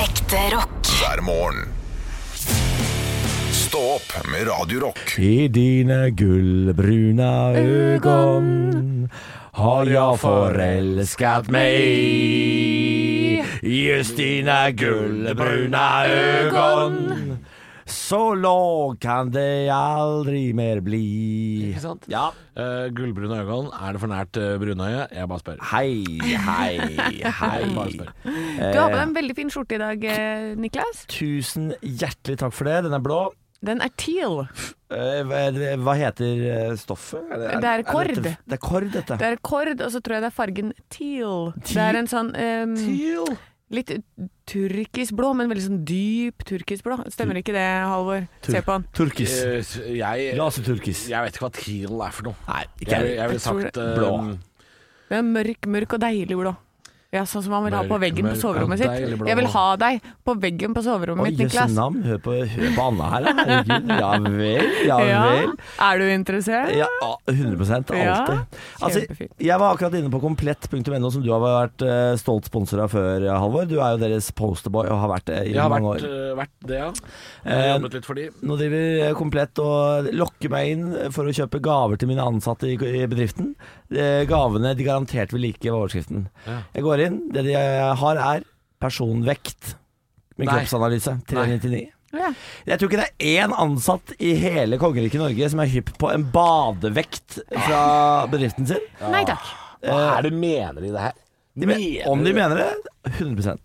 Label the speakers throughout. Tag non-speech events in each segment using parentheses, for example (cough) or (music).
Speaker 1: Ekte rock.
Speaker 2: hver morgen. Stå opp med Radio Rock.
Speaker 3: I dine gullbruna øgon har jeg forelsket meg. Just dine gullbruna øgon, så låg kan det aldri mer bli.
Speaker 4: Ikke sant?
Speaker 3: Ja.
Speaker 4: Eh, gullbrune øyne, er det for nært eh, brunøye? Jeg bare spør.
Speaker 3: Hei, hei,
Speaker 5: (laughs)
Speaker 4: Jeg bare
Speaker 3: hei. Eh,
Speaker 4: spør.
Speaker 5: Du har på deg en veldig fin skjorte i dag, eh, Niklas.
Speaker 3: Tusen hjertelig takk for det. Den er blå.
Speaker 5: Den er teal.
Speaker 3: Eh, hva- Hva heter eh, stoffet?
Speaker 5: Det er kord.
Speaker 3: dette- Det er kord, dette.
Speaker 5: Det er kord, og så tror jeg det er fargen teal. Det er en sånn ehm, litt turkisblå, men veldig sånn dyp turkisblå. Stemmer ikke det, Halvor? Se på han.
Speaker 3: Turkis.
Speaker 4: Eh, s- jeg,
Speaker 3: Laserturkis.
Speaker 4: jeg vet ikke hva teal er for noe.
Speaker 3: Nei, ikke
Speaker 4: Jeg,
Speaker 3: jeg.
Speaker 4: jeg ville
Speaker 5: Jeg tror
Speaker 4: sagt
Speaker 5: det-
Speaker 4: eh,
Speaker 3: Blå.
Speaker 5: Det er mørk, mørk og deilig blå. Ja, sånn som han vil ha på
Speaker 4: Mørk,
Speaker 5: veggen på
Speaker 4: mørk
Speaker 5: soverommet
Speaker 4: og
Speaker 5: sitt.
Speaker 4: deilig blå.
Speaker 5: Jeg vil ha deg på veggen på soverommet
Speaker 3: Oi,
Speaker 5: mitt,
Speaker 3: jøsse
Speaker 5: Niklas.
Speaker 3: navn. Hør på, hør på Anna her, da. herregud. Ja vel, ja
Speaker 5: (laughs) Ja.
Speaker 3: vel.
Speaker 5: Er du interessert?
Speaker 3: Ja, a- 100 alltid.
Speaker 5: Ja,
Speaker 3: altså,
Speaker 5: kjempefint.
Speaker 3: jeg var akkurat inne på komplett.no, som du har vært eh, stolt sponsor av før, eh, Halvor. Du er jo deres posterboy og har vært det i
Speaker 4: Jeg har
Speaker 3: mange år.
Speaker 4: vært, eh, vært det, ja. Jeg har
Speaker 3: Eh,
Speaker 4: jobbet litt for de.
Speaker 3: nå driver eh, Komplett og lokker meg inn for å kjøpe gaver til mine ansatte i i bedriften. Eh, Gavene de garantert vil like, var overskriften.
Speaker 4: Ja.
Speaker 3: Jeg går inn. Det de eh, har, er personvekt. Min
Speaker 4: Nei.
Speaker 3: kroppsanalyse. 399.
Speaker 5: Ja.
Speaker 3: Jeg tror ikke det er én ansatt i hele kongeriket Norge som er hypp på en badevekt fra bedriften sin.
Speaker 5: Nei takk.
Speaker 4: Hva er det mener de det her?
Speaker 3: De men, om de mener det 100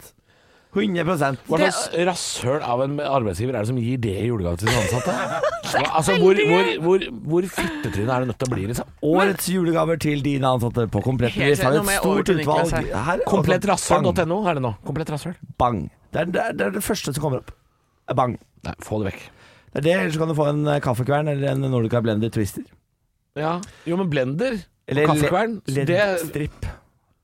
Speaker 3: 100
Speaker 4: Hva slags rasshøl av en arbeidsgiver er det som gir det i julegave til sine
Speaker 3: (laughs)
Speaker 4: ansatte? Hva- altså, hvor, hvor, hvor, hvor fittetryne er det nødt til å bli, liksom?
Speaker 3: sånn Årets julegaver til dine ansatte på Komplett
Speaker 5: Helt
Speaker 3: Bedrift har
Speaker 5: rett, nå
Speaker 3: et
Speaker 5: må jeg over
Speaker 3: stort
Speaker 5: til Niklas
Speaker 3: utvalg.
Speaker 5: her.
Speaker 3: Her, altså, bang,
Speaker 4: Komplettrasshøl.no er det nå. Komplett rasshøl.
Speaker 3: bang. Det er, det, er, det er det første som kommer opp. Er Bang.
Speaker 4: Nei, få det vekk.
Speaker 3: Det er det, Ellers kan du få en eh, kaffekvern eller en Nordica Blender Twister.
Speaker 4: Ja. Jo, men blender
Speaker 3: Eller
Speaker 4: og kaffekvern
Speaker 3: led-
Speaker 4: det,
Speaker 3: LED-stripp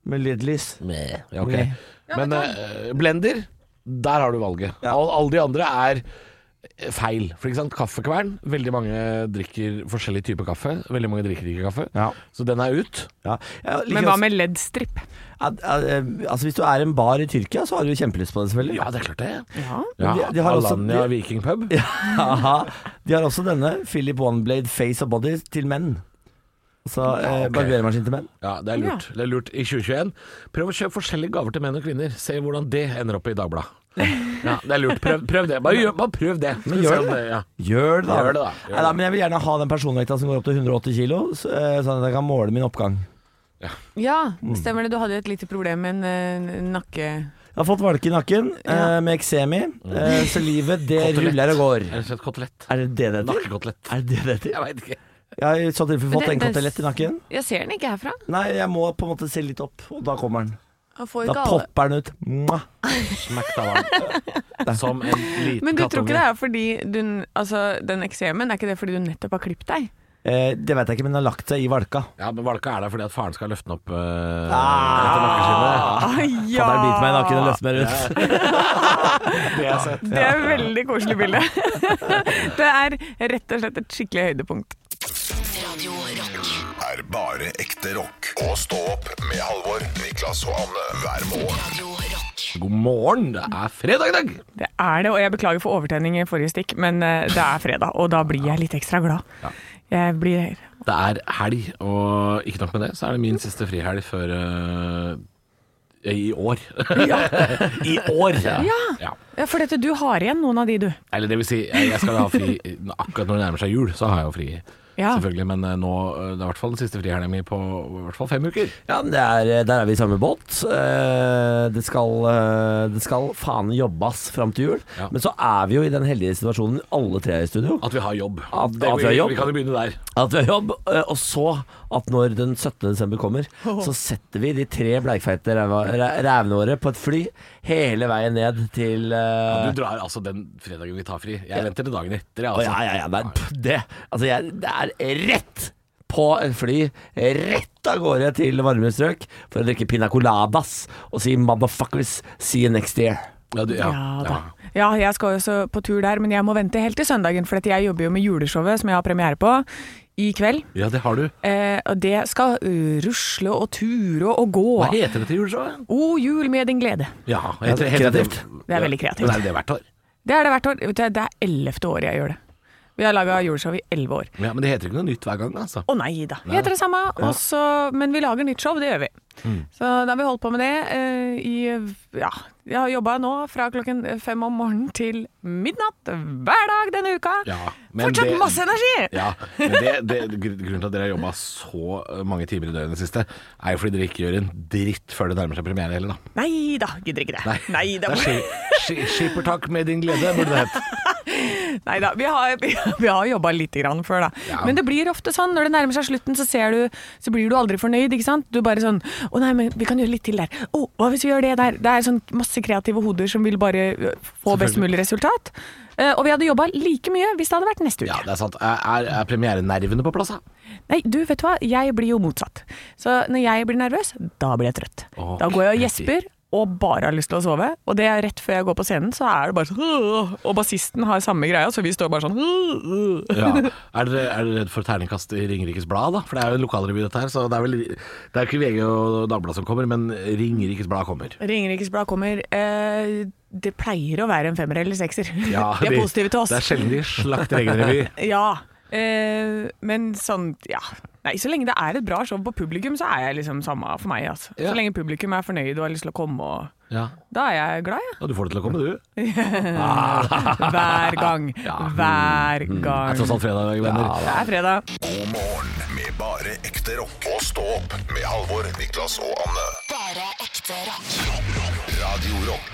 Speaker 3: med LED-lys.
Speaker 4: Meh, ja, ok.
Speaker 3: Meh.
Speaker 4: Men eh, blender, der har du valget.
Speaker 3: Ja.
Speaker 4: Alle alle de andre er eh, feil. For ikke sant, kaffekvern Veldig mange drikker forskjellig type kaffe. Veldig mange drikker ikke kaffe.
Speaker 3: Ja.
Speaker 4: Så den er ut.
Speaker 3: Ja. Jeg liker
Speaker 5: Men hva
Speaker 3: også-
Speaker 5: med LED-stripp?
Speaker 3: Ja, eh, altså Hvis du er en bar i Tyrkia, så har du jo kjempelyst på det, selvfølgelig. (laughs)
Speaker 4: Ja, det er klart det.
Speaker 5: Ja.
Speaker 4: Ja,
Speaker 3: De- de har også-
Speaker 4: Alanya
Speaker 3: de-
Speaker 4: Viking Pub.
Speaker 3: Haha. De har også denne, Philip Oneblade Face og Body, til menn. Så eh,
Speaker 4: ok.
Speaker 3: barbermaskin til menn.
Speaker 4: Ja, det er lurt. Det er lurt i 2021. Prøv å kjøpe forskjellige gaver til menn og kvinner. Se hvordan det ender opp i Dagbladet. Ja, det er lurt. Prøv, prøv det. Bare, gjør- bare prøv det.
Speaker 3: Men gjør
Speaker 4: Se om
Speaker 3: det.
Speaker 4: Ja.
Speaker 3: Gjør det, da.
Speaker 4: Gjør det da, gjør
Speaker 3: Nei, da,
Speaker 4: det.
Speaker 3: men jeg vil gjerne ha den personvekta som går opp til 180 kilo, så, eh, sånn at jeg kan måle min oppgang.
Speaker 5: ja, stemmer det. Du hadde et lite problem med en eh, nakke...
Speaker 3: Jeg har fått valke i nakken eh,
Speaker 5: Ja.
Speaker 3: med eksem i,
Speaker 4: Mm.
Speaker 3: eh, så livet det
Speaker 4: Kotelett.
Speaker 3: ruller og går.
Speaker 4: Eller et kotelett.
Speaker 3: Er det det det heter?
Speaker 4: Nakkekotelett.
Speaker 3: Er det det det heter?
Speaker 4: Jeg veit ikke.
Speaker 3: Jeg har i så tilfelle
Speaker 5: Men
Speaker 3: fått
Speaker 5: det-
Speaker 3: en
Speaker 5: det-
Speaker 3: kotelett i nakken.
Speaker 5: Jeg ser den ikke herfra.
Speaker 3: Nei, jeg må på en måte se litt opp, og da kommer den.
Speaker 5: Han får
Speaker 3: Da
Speaker 5: ikke alle.
Speaker 3: popper den ut. Mwah.
Speaker 4: Smekta varm. (laughs) Som en liten
Speaker 5: Men du tror ikke det er fordi du Altså, den eksemen, er ikke det fordi du nettopp har klippet deg?
Speaker 3: Eh, det vet jeg ikke, men den har lagt seg i valka.
Speaker 4: Ja, men Valka er der fordi at faren skal løfte den opp eh, etter
Speaker 3: Ah!
Speaker 4: nakkeskinnet.
Speaker 5: Ah,
Speaker 3: Ja. Fadderen biter meg i nakken og løfter meg rundt.
Speaker 4: (laughs) Det har jeg sett.
Speaker 5: Det er et veldig koselig bilde. (laughs) det er rett og slett et skikkelig høydepunkt.
Speaker 1: Radio Rock.
Speaker 2: Er bare ekte rock. Og stå opp med Halvor, Niklas og Anne hver morgen.
Speaker 1: Radio Rock.
Speaker 4: God morgen, det er fredag i dag!
Speaker 5: Det er det, og jeg beklager for overtenning i forrige stikk, men eh, det er fredag, og da blir jeg litt ekstra glad. Jeg blir
Speaker 4: Det er helg, og ikke nok med det, så er det min siste frihelg før eh, i
Speaker 3: (laughs)
Speaker 4: år. I år! Ja. ja.
Speaker 5: ja, For dette, du har igjen noen av de, du.
Speaker 4: Eller det vil si, jeg jeg skal ha fri akkurat når det nærmer seg jul, så har jeg jo fri.
Speaker 5: Ja.
Speaker 4: Selvfølgelig, men eh, nå eh, Det er i hvert fall den siste frihelga mi på i hvert fall fem uker.
Speaker 3: Ja, men det er, eh, der er vi i samme båt. Eh, Det skal, eh, det skal faen jobbes fram til jul.
Speaker 4: Ja.
Speaker 3: Men så er vi jo i den heldige situasjonen, alle tre i studio,
Speaker 4: At vi har jobb.
Speaker 3: At- at vi har jobb.
Speaker 4: Vi kan jo begynne der.
Speaker 3: at vi har jobb. eh, Og så at når den 17. desember kommer,
Speaker 5: (laughs)
Speaker 3: så setter vi de tre bleikfeite ræva- ræ- rævene våre på et fly hele veien ned til eh,
Speaker 4: Du drar altså den fredagen vi tar fri. Jeg venter til dagen etter. jeg,
Speaker 3: Å,
Speaker 4: Altså.
Speaker 3: ja, ja, ja. Nei, pff, det, altså, jeg, det er rett på et fly, rett av gårde til varme strøk for å drikke pina coladas og si 'motherfuckers, see you next year'.
Speaker 4: Ja, du, ja,
Speaker 5: da.
Speaker 4: ja.
Speaker 5: Ja, jeg skal jo også på tur der, men jeg må vente helt til søndagen, for at jeg jobber jo med juleshowet som jeg har premiere på i kveld.
Speaker 4: Ja, det har du.
Speaker 5: Eh, og det skal eh, rusle og ture og gå.
Speaker 4: Hva heter det til juleshowet?
Speaker 5: O jul med din glede.
Speaker 4: Ja,
Speaker 3: Ja, det er
Speaker 4: heter
Speaker 3: kreativt.
Speaker 5: Det er veldig kreativt.
Speaker 4: Men er det det hvert år?
Speaker 5: Det er det hvert år. Vet du, Det er ellevte året jeg gjør det. Vi har laga juleshow i elleve år.
Speaker 4: Ja, men det heter ikke noe nytt hver gang, altså.
Speaker 5: Å nei da. Vi heter det samme, og så- men vi lager nytt show. Det gjør vi.
Speaker 4: Mm.
Speaker 5: Så da har vi holdt på med det eh, i Ja, jeg har jobba nå fra klokken fem om morgenen til midnatt hver dag denne uka.
Speaker 4: Ja, men
Speaker 5: Fortsatt
Speaker 4: det-
Speaker 5: masse energi!
Speaker 4: Ja, men det, det, gr- Grunnen til at dere har jobba så eh, mange timer i døgnet det siste, er jo fordi dere ikke gjør en dritt før det nærmer seg premiere heller, da.
Speaker 5: Nei da, gidder ikke det. Nei
Speaker 4: Det
Speaker 5: da.
Speaker 4: er ski- ski- Skippertak med din glede, burde det hett.
Speaker 5: Nei da, vi har, vi, har jobba lite grann før, da.
Speaker 4: Ja.
Speaker 5: Men det blir ofte sånn. Når det nærmer seg slutten, så, ser du, så blir du aldri fornøyd. ikke sant? Du er bare sånn Å nei, men vi kan gjøre litt til der. Å, hva hvis vi gjør det der? Det er sånn masse kreative hoder som vil bare ø, få best mulig resultat. Eh, og vi hadde jobba like mye hvis det hadde vært neste uke.
Speaker 4: Ja, det er sant. Er, er, er premierenervene på plass, da?
Speaker 5: Nei, du vet du hva, jeg blir jo motsatt. Så når jeg blir nervøs, da blir jeg trøtt. Da går jeg og gjesper og bare har lyst til å sove. Og det er rett før jeg går på scenen, så er det bare sånn «Åh», Og bassisten har samme greia, så vi står bare sånn «Åh, åh».
Speaker 4: Ja. Er dere, er dere redd for terningkast i Ringerikes Blad, da? For det er jo en lokalrevy, dette her. Så det er vel Det er ikke VG og Dagbladet som kommer, men Ringerikes Blad kommer.
Speaker 5: Ringerikes Blad kommer. Eh, det pleier å være en femmer eller sekser.
Speaker 4: Ja,
Speaker 5: (laughs) de er positive til oss.
Speaker 4: Det er sjelden de slakter egen revy.
Speaker 5: (laughs) Ja. Eh, men sånn, ja. Nei, så lenge det er et bra show på publikum, så er jeg liksom samme for meg. Altså.
Speaker 4: Ja.
Speaker 5: Så lenge publikum er fornøyd og har lyst til å komme, og
Speaker 4: Ja.
Speaker 5: da er jeg glad, jeg.
Speaker 4: Og du får det til å komme, du.
Speaker 5: Hver gang. Hver
Speaker 4: Det er
Speaker 5: gang.
Speaker 4: tross alt fredag, venner.
Speaker 5: Det er fredag.
Speaker 2: God morgen med bare ekte rock. Og stå opp med Halvor, Niklas og Anne.
Speaker 1: Bare ekte rock.
Speaker 2: Rock, rock. Radio Rock.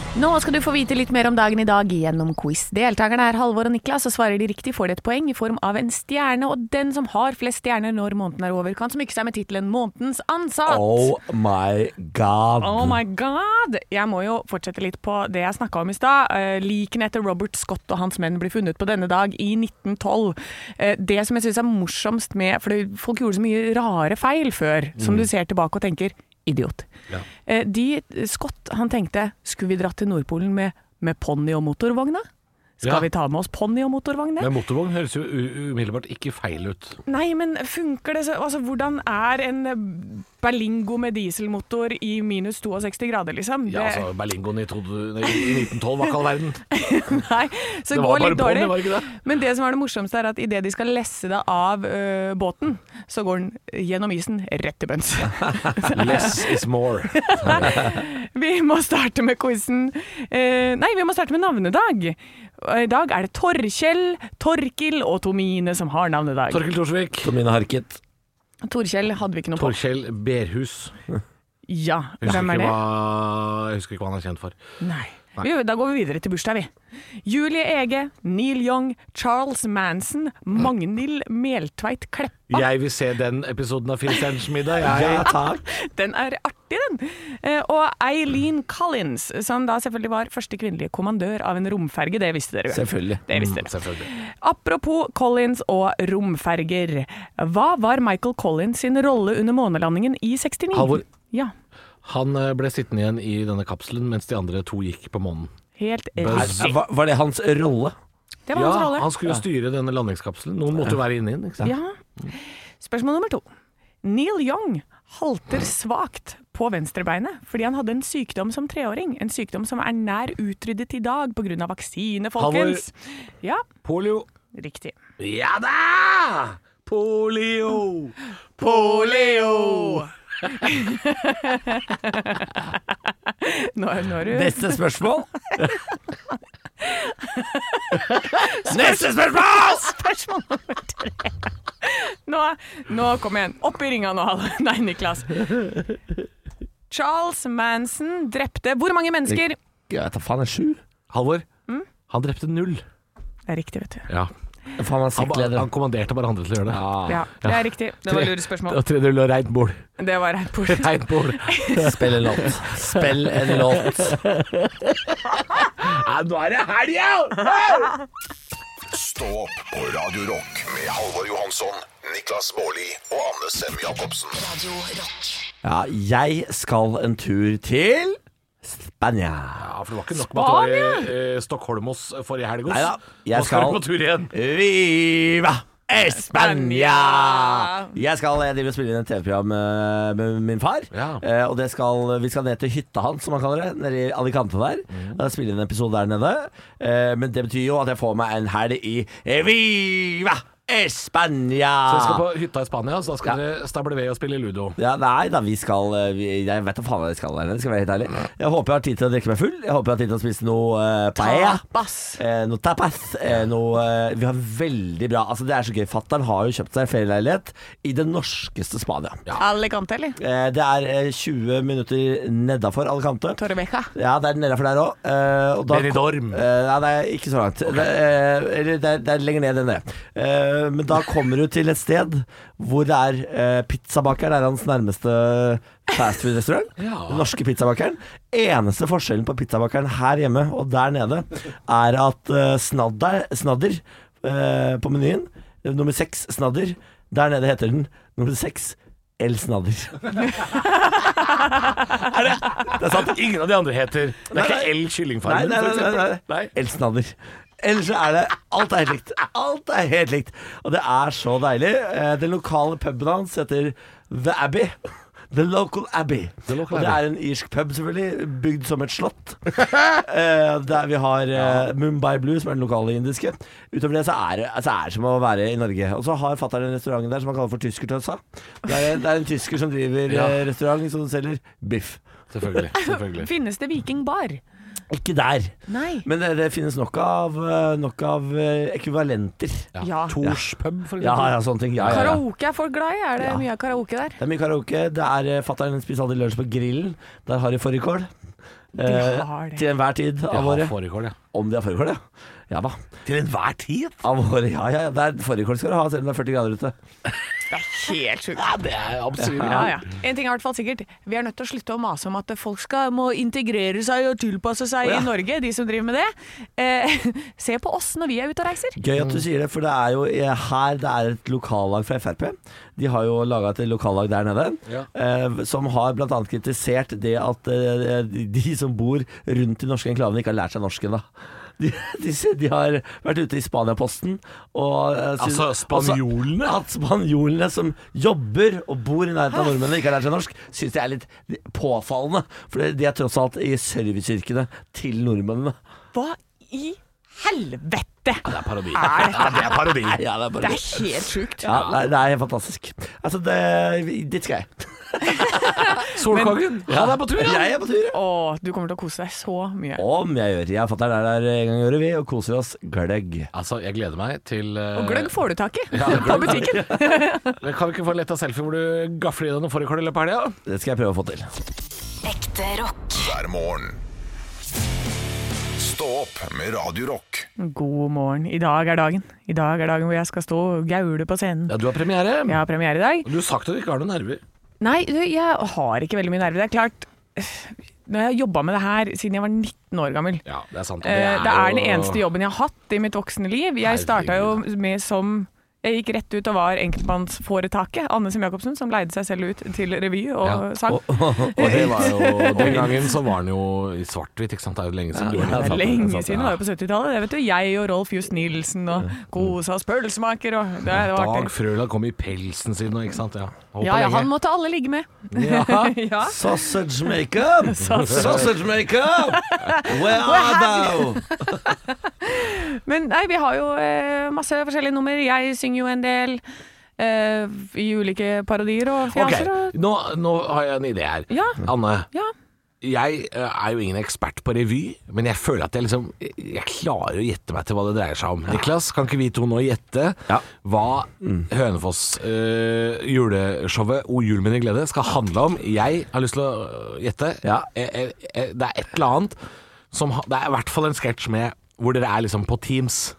Speaker 5: Nå skal du få vite litt mer om dagen i dag gjennom quiz. Deltakerne er Halvor og Niklas, og svarer de riktig får de et poeng i form av en stjerne. Og den som har flest stjerner når måneden er over, kan smykke seg med tittelen 'Månedens ansatt'.
Speaker 3: Oh my god.
Speaker 5: Oh my god! Jeg må jo fortsette litt på det jeg snakka om i stad. Eh, Likene etter Robert Scott og hans menn ble funnet på denne dag i 1912. Eh, Det som jeg syns er morsomst med For det- folk gjorde så mye rare feil før, som du ser tilbake og tenker idiot. Eh, De, Scott han tenkte skulle vi dratt til Nordpolen med, med ponni og motorvogna? Skal
Speaker 4: Ja.
Speaker 5: vi ta med oss ponni og motorvogn? ned?
Speaker 4: Men motorvogn høres jo u- umiddelbart ikke feil ut.
Speaker 5: Nei, men funker det så Altså, hvordan er en eh, Berlingo med dieselmotor i minus 62 grader, liksom?
Speaker 4: Ja,
Speaker 5: Det-
Speaker 4: altså, Berlingoen i, to, nei, i 1912 var ikke all verden.
Speaker 5: (laughs) Nei,
Speaker 4: Det
Speaker 5: så det
Speaker 4: var
Speaker 5: går
Speaker 4: bare bånd,
Speaker 5: litt dårlig.
Speaker 4: det var ikke det?
Speaker 5: Men det som er det morsomste, er at idet de skal lesse det av ø, båten, så går den gjennom isen rett
Speaker 4: (laughs)
Speaker 5: til bunns.
Speaker 4: Less is more.
Speaker 5: vi må starte med quizen. Eh, nei, vi må starte med navnedag. Og I dag er det Torkjell, Torkil og Tomine som har navnedag.
Speaker 4: Torkel Torsvik.
Speaker 3: Som mine harket.
Speaker 5: Torkjell hadde vi ikke noe på.
Speaker 4: Torkjell Berhus.
Speaker 5: Ja,
Speaker 4: Jeg husker,
Speaker 5: hvem er
Speaker 4: ikke
Speaker 5: det?
Speaker 4: hva, jeg husker ikke hva han er kjent for.
Speaker 5: Nei. Vi, da går vi videre til bursdag, vi. Julie Ege, Neil Young, Charles Manson, Magnhild Meltveit Kleppa.
Speaker 4: Jeg vil se den episoden av Filsterens middag.
Speaker 3: Ja,
Speaker 4: Jeg.
Speaker 3: takk.
Speaker 5: Den er artig, den. Eh, Og Eileen Collins, som da selvfølgelig var første kvinnelige kommandør av en romferge. Det visste dere jo.
Speaker 3: Selvfølgelig.
Speaker 5: Det visste
Speaker 4: Mm,
Speaker 5: dere.
Speaker 4: Selvfølgelig.
Speaker 5: Apropos Collins og romferger. Hva var Michael Collins sin rolle under månelandingen i 69?
Speaker 3: Halvor.
Speaker 5: Ja,
Speaker 4: Han eh, ble sittende igjen i denne kapselen mens de andre to gikk på månen.
Speaker 5: helt
Speaker 4: Buzz.
Speaker 5: riktig.
Speaker 3: Var, var det hans rolle?
Speaker 5: Det var
Speaker 4: Ja,
Speaker 5: hans rolle.
Speaker 4: han skulle jo styre denne landingskapselen. Noen måtte jo være inni den. ikke sant?
Speaker 5: Ja. Spørsmål nummer to. Neil Young halter svakt på venstrebeinet fordi han hadde en sykdom som treåring. En sykdom som er nær utryddet i dag pga. vaksine, folkens. Ja,
Speaker 4: Polio.
Speaker 5: riktig.
Speaker 4: Ja da! Polio! Polio!
Speaker 5: Nå, er- nå er du
Speaker 3: Neste (laughs) spørsmål. Neste spørsmål!
Speaker 5: Spørsmål nummer tre. Nå, nå kom igjen. Opp i ringa nå, Hal. Nei, Niklas. Charles Manson drepte hvor mange mennesker?
Speaker 3: Jeg tar faen, er sju?
Speaker 4: Halvor, han drepte null.
Speaker 5: Det er riktig, vet du.
Speaker 4: Ja.
Speaker 3: Faen, han er
Speaker 4: Han, ba-
Speaker 3: sektleder.
Speaker 4: han kommanderte bare andre til å gjøre det.
Speaker 5: Ja, det er riktig. Det var lure spørsmål.
Speaker 4: Og 3-0 og reint bol.
Speaker 5: Det var rett bort.
Speaker 4: Reint (laughs) bol.
Speaker 3: Spill en låt. Spill en låt.
Speaker 4: nå er det helg,
Speaker 2: Stå opp på Radio Rock med Halvor Johansson, Niklas Baarli og Anne Sem Jacobsen.
Speaker 1: Radio Rock.
Speaker 3: Ja, jeg skal en tur til Spania.
Speaker 4: Ja, for det var ikke nok med at det var i eh, Stockholmos forrige helg.
Speaker 3: Nei da, jeg
Speaker 4: Nå skal
Speaker 3: skal
Speaker 4: du på tur igjen.
Speaker 3: Viva Spania!
Speaker 5: Spania!
Speaker 3: Jeg skal jeg driver og spiller inn et TV-program eh, med min far.
Speaker 4: Ja.
Speaker 3: Eh, og det skal, Vi skal ned til hytta hans, som han kaller det, nede i Alicante der.
Speaker 4: Mm.
Speaker 3: Jeg spiller inn en episode der nede. Eh, men det betyr jo at jeg får meg en helg i eh, Viva Spania!
Speaker 4: Så jeg skal på hytta i Spania, så da skal
Speaker 3: Ja.
Speaker 4: dere stable ved og spille ludo.
Speaker 3: Ja, nei da, vi skal eh, vi, Jeg vet da faen hva vi skal, Erne, skal jeg være helt ærlig. Jeg håper jeg har tid til å drikke meg full. Jeg håper jeg har tid til å spise noe uh, paella.
Speaker 5: Tapas.
Speaker 3: Eh, noe tapas. Eh, noe, eh, vi har veldig bra Altså Det er så gøy. Fattern har jo kjøpt seg ferieleilighet i det norskeste Spania.
Speaker 5: Alicante, eller?
Speaker 3: Eh, det er eh, 20 minutter nedafor Alicante.
Speaker 5: Torreveja.
Speaker 3: Ja, det er nedafor der Eh, òg.
Speaker 4: Benidorm.
Speaker 3: Eh, nei, det er ikke så langt. Det, eh, eller det er, det er lenger ned enn det. Eh, men da kommer du til et sted hvor det er eh, pizzabakeren er hans nærmeste fastfood-restaurant.
Speaker 4: Ja.
Speaker 3: Den norske pizzabakeren. Eneste forskjellen på pizzabakeren her hjemme og der nede, er at eh, snadder, snadder eh, på menyen, eh, nummer seks snadder, der nede heter den nummer seks El Snadder.
Speaker 4: Det er sant, ingen av de andre heter Det er ikke L
Speaker 3: Nei,
Speaker 4: kyllingfarmen,
Speaker 3: nei,
Speaker 4: for
Speaker 3: nei, nei,
Speaker 4: eksempel.
Speaker 3: nei. Else Nader. Ellers så er det Alt er helt likt. Alt er helt likt. Og det er så deilig. Eh, Den lokale puben hans heter The Abbey. The Local Abbey.
Speaker 4: The Local
Speaker 3: og det
Speaker 4: Abbey.
Speaker 3: er en irsk pub, selvfølgelig. Bygd som et
Speaker 4: (laughs)
Speaker 3: slott. Eh, der vi har eh, Mumbai Blue, som er den lokale indiske. Utover det så er det, altså, er det som å være i Norge. Og så har fatter'n en restaurant der som han kaller for Tyskertønsa. Det, er- det er en tysker som driver
Speaker 4: Ja.
Speaker 3: eh, restaurant som selger biff.
Speaker 4: Selvfølgelig. (laughs) selvfølgelig.
Speaker 5: Finnes det vikingbar?
Speaker 3: Ikke der.
Speaker 5: Nei.
Speaker 3: Men det, det finnes nok av, eh, nok av eh, ekvivalenter.
Speaker 4: Ja.
Speaker 5: Ja.
Speaker 4: Tors pub, for eksempel.
Speaker 3: Ja, ja, sånne ting. Ja, ja, ja.
Speaker 5: Karaoke er folk glad i. Er det mye av karaoke der?
Speaker 3: Det er mye karaoke. Det er eh, Fatter'n spiser alltid lunsj på grillen. Der har de fårikål. eh,
Speaker 5: De har det.
Speaker 3: til enhver tid av
Speaker 4: Ja,
Speaker 3: året.
Speaker 4: fårikål, ja.
Speaker 3: Om de har fårikål, ja. Ja da.
Speaker 4: Til enhver tid?
Speaker 3: Av året, ja ja. ja. Det er Fårikål skal du ha selv om det er 40 grader ute.
Speaker 5: Helt sjukt.
Speaker 4: Ja, det er absurd.
Speaker 5: Ja, ja. En ting er i hvert fall sikkert. Vi er nødt til å slutte å mase om at folk skal må integrere seg og tilpasse seg
Speaker 3: Å, ja.
Speaker 5: i Norge, de som driver med det. Eh, (laughs) se på oss når vi er ute og reiser.
Speaker 3: Gøy at du
Speaker 4: Mm.
Speaker 3: sier det, for det er jo eh, her det er et lokallag fra Frp. De har jo laga et lokallag der nede,
Speaker 4: Ja.
Speaker 3: eh, som har bl.a. kritisert det at eh, de som bor rundt de norske enklavene, ikke har lært seg norsk ennå. De, (laughs) de, s- de har vært ute i Spaniaposten og eh, syn-
Speaker 4: Altså, spanjolene?
Speaker 3: Altså, At spanjolene som jobber og bor i nærheten av nordmennene, ikke har lært seg norsk, syns det er litt påfallende. For de er tross alt i serviceyrkene til nordmennene.
Speaker 5: Hva i helvete
Speaker 4: Det er parodi.
Speaker 5: er dette?
Speaker 4: Ja, det er parodi.
Speaker 3: (laughs) Ja, det er bare
Speaker 5: Det er helt sjukt.
Speaker 3: Ja, det er, det er helt fantastisk. Altså, det, dit skal jeg.
Speaker 4: Solkongen,
Speaker 3: (laughs)
Speaker 4: han er på tur, han.
Speaker 3: Jeg er på tur, ja.
Speaker 5: Å, du kommer til å kose deg så mye.
Speaker 3: Om jeg gjør. Jeg og fatter'n er der en gang i året, vi, og koser oss gløgg.
Speaker 4: Altså, jeg gleder meg til eh,
Speaker 5: Og gløgg får du tak i
Speaker 4: Ja, gløgg.
Speaker 5: på butikken.
Speaker 4: Men Kan vi ikke få en letta selfie hvor du gafler i deg noen fårikål i løpet av helga?
Speaker 3: Det skal jeg prøve å få til.
Speaker 1: Ekte rock.
Speaker 2: hver morgen. Stå opp med Radio Rock.
Speaker 5: God morgen. I dag er dagen. I dag er dagen hvor jeg skal stå og gaule på scenen.
Speaker 4: Ja, du har premiere.
Speaker 5: Jeg har premiere i dag.
Speaker 4: Du har sagt at du ikke har noen nerver.
Speaker 5: Nei, du, jeg har ikke veldig mye nerver. Det er klart, (sighs) når jeg har jobba med det her siden jeg var 19 år gammel
Speaker 4: Ja, det er sant.
Speaker 5: eh, Det er den
Speaker 4: jo-
Speaker 5: eneste jobben jeg har hatt i mitt voksne liv. Jeg starta jo med som jeg gikk rett ut og var enkeltmannsforetaket Anne Sem Jacobsen, som leide seg selv ut til revy og
Speaker 4: (laughs) Ja.
Speaker 5: sang.
Speaker 3: Og det var
Speaker 5: (laughs)
Speaker 3: jo
Speaker 4: Og den gangen så var den jo i svart-hvitt, ikke sant. Det er jo lenge siden. du
Speaker 5: Det
Speaker 4: har
Speaker 5: er
Speaker 4: den.
Speaker 5: lenge
Speaker 4: sant,
Speaker 5: siden, det var jo på 70-tallet. Det vet du, Jeg og Rolf Just Nielsen og kosa oss pølsemaker og det, det var
Speaker 4: Dag
Speaker 5: artig.
Speaker 4: Frøla kom i pelsen sin og ikke sant. Ja, Holdt på
Speaker 5: Ja, ja,
Speaker 4: lenge.
Speaker 5: han måtte alle ligge med. (laughs) ja.
Speaker 3: Sausage makeup! Sausage makeup! Where are thou?
Speaker 5: Men nei, vi har jo eh, masse forskjellige nummer. Jeg synger jo en del eh, i ulike parodier og
Speaker 4: Ok,
Speaker 5: fjaser. og-
Speaker 4: nå, nå har jeg en idé her.
Speaker 5: Ja.
Speaker 4: Anne,
Speaker 5: Ja.
Speaker 4: jeg eh, er jo ingen ekspert på revy, men jeg føler at jeg liksom Jeg klarer å gjette meg til hva det dreier seg om. Niklas, kan ikke vi to nå gjette
Speaker 3: Ja.
Speaker 4: hva Hønefoss eh, juleshowet O jul min i glede skal handle om? Jeg har lyst til å øh, gjette.
Speaker 3: Ja.
Speaker 4: Eh, eh, eh, det er et eller annet som ha- Det er i hvert fall en sketsj med hvor dere er liksom på Teams.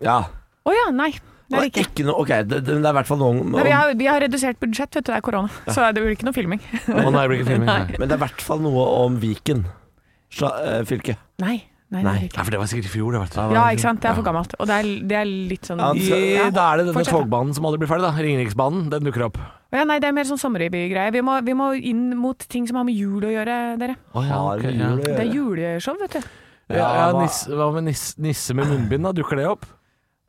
Speaker 3: Ja.
Speaker 5: Å ja, nei. Det
Speaker 3: Det
Speaker 5: er
Speaker 3: er
Speaker 5: det ikke.
Speaker 3: ikke noe Ok, det, det er i hvert fall noe om-
Speaker 5: Nei, vi, har, vi har redusert budsjett, vet du. Det er korona. Så det blir ikke noe filming.
Speaker 4: Å nei, det blir ikke filming. Nei.
Speaker 3: Men det er i hvert fall noe om Viken Sla- eh, fylke.
Speaker 5: (laughs) Nei. nei, det
Speaker 3: Nei.
Speaker 5: er det ikke.
Speaker 4: Nei, for det var sikkert i fjor, det. Vet du.
Speaker 5: Ja, ikke sant. Det er for gammelt. Og det er, det er litt sånn
Speaker 3: Ja,
Speaker 4: I, da er det denne
Speaker 5: Fortsett, da.
Speaker 4: togbanen som aldri blir ferdig, da. Ringeriksbanen. Den dukker opp.
Speaker 5: Ja, Å ja, nei, det er mer sånn sommerrevygreie. Vi, må- vi må inn mot ting som har med jul å gjøre, dere.
Speaker 4: Å, ja,
Speaker 3: Har
Speaker 4: ok,
Speaker 3: med
Speaker 4: ja.
Speaker 3: jul å
Speaker 5: Det er
Speaker 3: gjøre.
Speaker 5: juleshow, vet du.
Speaker 4: Ja, ja,
Speaker 3: hva-
Speaker 4: nisse, hva med nisse, nisse med munnbind, da? Dukker det opp?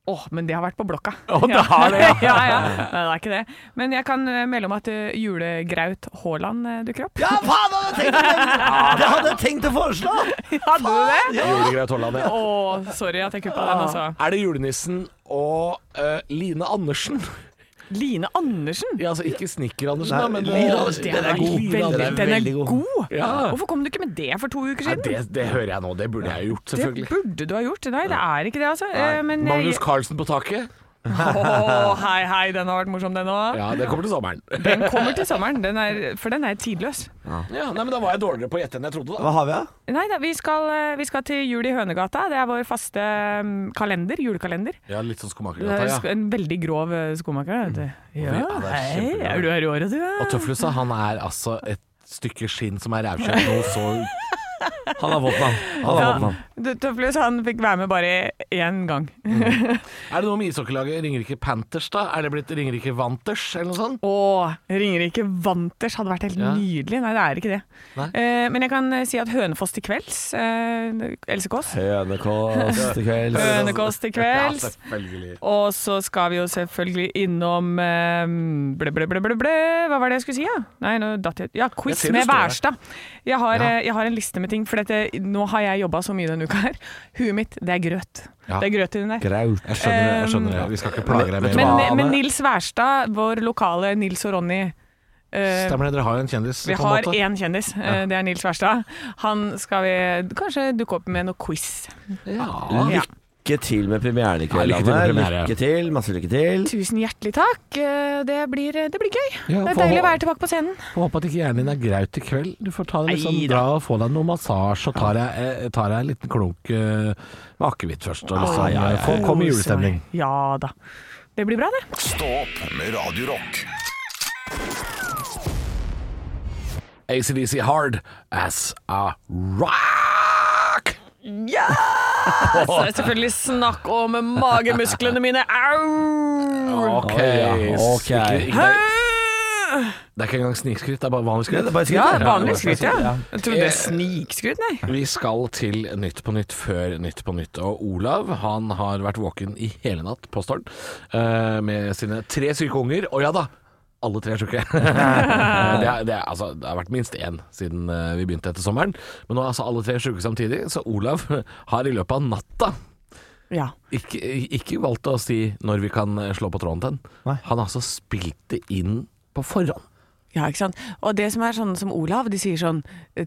Speaker 5: Å, men det har vært på blokka.
Speaker 4: Å, det har det, ja.
Speaker 5: (laughs) ja, ja. Nei, det er ikke det. Men jeg kan eh, melde om at eh, julegraut Haaland eh, dukker opp.
Speaker 3: Ja, faen, jeg hadde tenkt å nevne- jeg hadde tenkt å foreslå!
Speaker 5: Hadde du det?
Speaker 4: Julegreit Holland,
Speaker 5: Å, sorry at jeg kuppa den, altså.
Speaker 4: Er det julenissen og eh, Line Andersen? (laughs)
Speaker 5: Line Andersen.
Speaker 4: Ja, altså ikke Snikker Andersen,
Speaker 3: Nei,
Speaker 4: da, men
Speaker 3: Line
Speaker 4: eh,
Speaker 3: Andersen,
Speaker 5: Det
Speaker 3: den er
Speaker 5: vært
Speaker 3: god.
Speaker 5: Veldig,
Speaker 3: Den er
Speaker 5: den er
Speaker 3: veldig god.
Speaker 5: god.
Speaker 4: Ja.
Speaker 5: Hvorfor kom du ikke med det for to uker
Speaker 4: Nei,
Speaker 5: siden?
Speaker 4: det, det hører jeg nå. Det burde jeg gjort,
Speaker 5: det
Speaker 4: selvfølgelig.
Speaker 5: burde du ha gjort. Nei, det er ikke det, altså. Eh, Men, eh,
Speaker 4: Magnus Carlsen på taket?
Speaker 5: Å, hei, hei, den har vært morsom, den òg.
Speaker 4: Ja, det kommer til sommeren.
Speaker 5: Den kommer til sommeren, den er, for den er tidløs.
Speaker 4: Ja, nei, men Da var jeg dårligere på å gjette enn jeg trodde. da
Speaker 3: Hva har vi, da?
Speaker 5: Nei da, vi skal, eh, vi skal til jul i Hønegata. Det er vår faste mm, kalender, julekalender.
Speaker 4: Ja, Litt sånn
Speaker 5: Du er
Speaker 4: skomakergata,
Speaker 5: sk- en veldig grov eh, skomaker, vet du. Ja,
Speaker 4: Ja, det er
Speaker 5: hei,
Speaker 4: kjempebra.
Speaker 5: er du her i året, du? eh?
Speaker 4: Og Tøflusa, han er altså et stykke skinn som er rævkjøtt noe så
Speaker 3: Han har våpen, han. han, har våpen, han.
Speaker 5: Du, Tøflus, han fikk være med bare én gang.
Speaker 4: Er det noe med ishockeylaget Ringerike Panthers, da? Er det blitt Ringerike Vanters, eller noe sånt?
Speaker 5: Åh, Ringerike Vanters hadde vært helt
Speaker 4: Ja.
Speaker 5: nydelig. Nei, det er ikke det.
Speaker 4: Nei.
Speaker 5: Eh, men jeg kan eh, si at Hønefoss til kvelds, eh, Else Kåss
Speaker 4: (laughs)
Speaker 3: Hønekost til kvelds.
Speaker 5: Hønekost til kvelds.
Speaker 4: selvfølgelig.
Speaker 5: Og så skal vi jo selvfølgelig innom eh, ble, ble, ble, ble, ble. Hva var det jeg skulle si, ja? Nei, nå datt jeg Ja, quiz
Speaker 4: Jeg ser det
Speaker 5: med
Speaker 4: står her.
Speaker 5: Wærstad. Jeg, har,
Speaker 4: Ja.
Speaker 5: eh, jeg har en liste med ting, for dette, nå har jeg jobba så mye denne uka her. Huet mitt, det er grøt.
Speaker 4: Ja.
Speaker 5: Det er grøt i den der.
Speaker 3: Graut.
Speaker 4: Jeg skjønner det. jeg skjønner det Vi skal ikke plage deg mer.
Speaker 5: Men,
Speaker 3: Hva, Anne?
Speaker 5: men Nils Wærstad, vår lokale Nils og Ronny eh,
Speaker 4: Stemmer det, dere har jo en kjendis på
Speaker 5: vi
Speaker 4: en
Speaker 5: har
Speaker 4: måte.
Speaker 5: én kjendis, eh, det er Nils Wærstad. Han skal vi kanskje dukke opp med noe quiz.
Speaker 4: Ja.
Speaker 5: Ja.
Speaker 3: Lykke til med premieren i kveld,
Speaker 4: Ja, lykke til med
Speaker 3: Anne.
Speaker 4: premiere.
Speaker 3: Lykke til, masse lykke til.
Speaker 5: Tusen hjertelig takk. Eh, Det blir, det blir gøy.
Speaker 4: Ja,
Speaker 5: det er
Speaker 4: for-
Speaker 5: deilig å være tilbake på scenen.
Speaker 4: Får håpe at ikke hjernen din er graut i kveld. Du får ta deg litt sånn
Speaker 5: Nei
Speaker 4: bra og få deg noe massasje og ta deg, eh, ta deg en liten klunk eh, med akevitt først. Og liksom,
Speaker 3: Ja, ja, ja, ja.
Speaker 4: eh, Få, kom i julestemning.
Speaker 5: Ja da. Det blir bra, det.
Speaker 2: Stå opp med Radio Rock.
Speaker 4: ACDC hard as a rock!
Speaker 5: Ja! Så er det selvfølgelig snakk om magemusklene mine. Au!
Speaker 4: Ok.
Speaker 3: Oi, ja, ok.
Speaker 4: Ikke, ikke, det, er, det er ikke engang snikskryt, det er bare vanlig
Speaker 3: Ja,
Speaker 4: skryt.
Speaker 3: det er bare
Speaker 5: Ja,
Speaker 3: skritt,
Speaker 5: vanlig skryt, ja. Jeg trodde det er snikskryt, nei.
Speaker 4: Vi skal til Nytt på Nytt før Nytt på Nytt. Og Olav han har vært våken i hele natt, påstår han, eh, med sine tre syke unger. Og ja da, alle tre er (laughs) syke. Eh, det, er, det, er, altså, det har vært minst én siden eh, vi begynte etter sommeren. Men nå er altså alle tre syke samtidig, så Olav har i løpet av natta
Speaker 5: Ja.
Speaker 4: ikke, ikke valgt å si når vi kan eh, slå på tråden til
Speaker 3: Nei.
Speaker 4: han. Han har altså spilt det inn på forhånd.
Speaker 5: Ja, ikke sant. Og det som er sånn som Olav, de sier sånn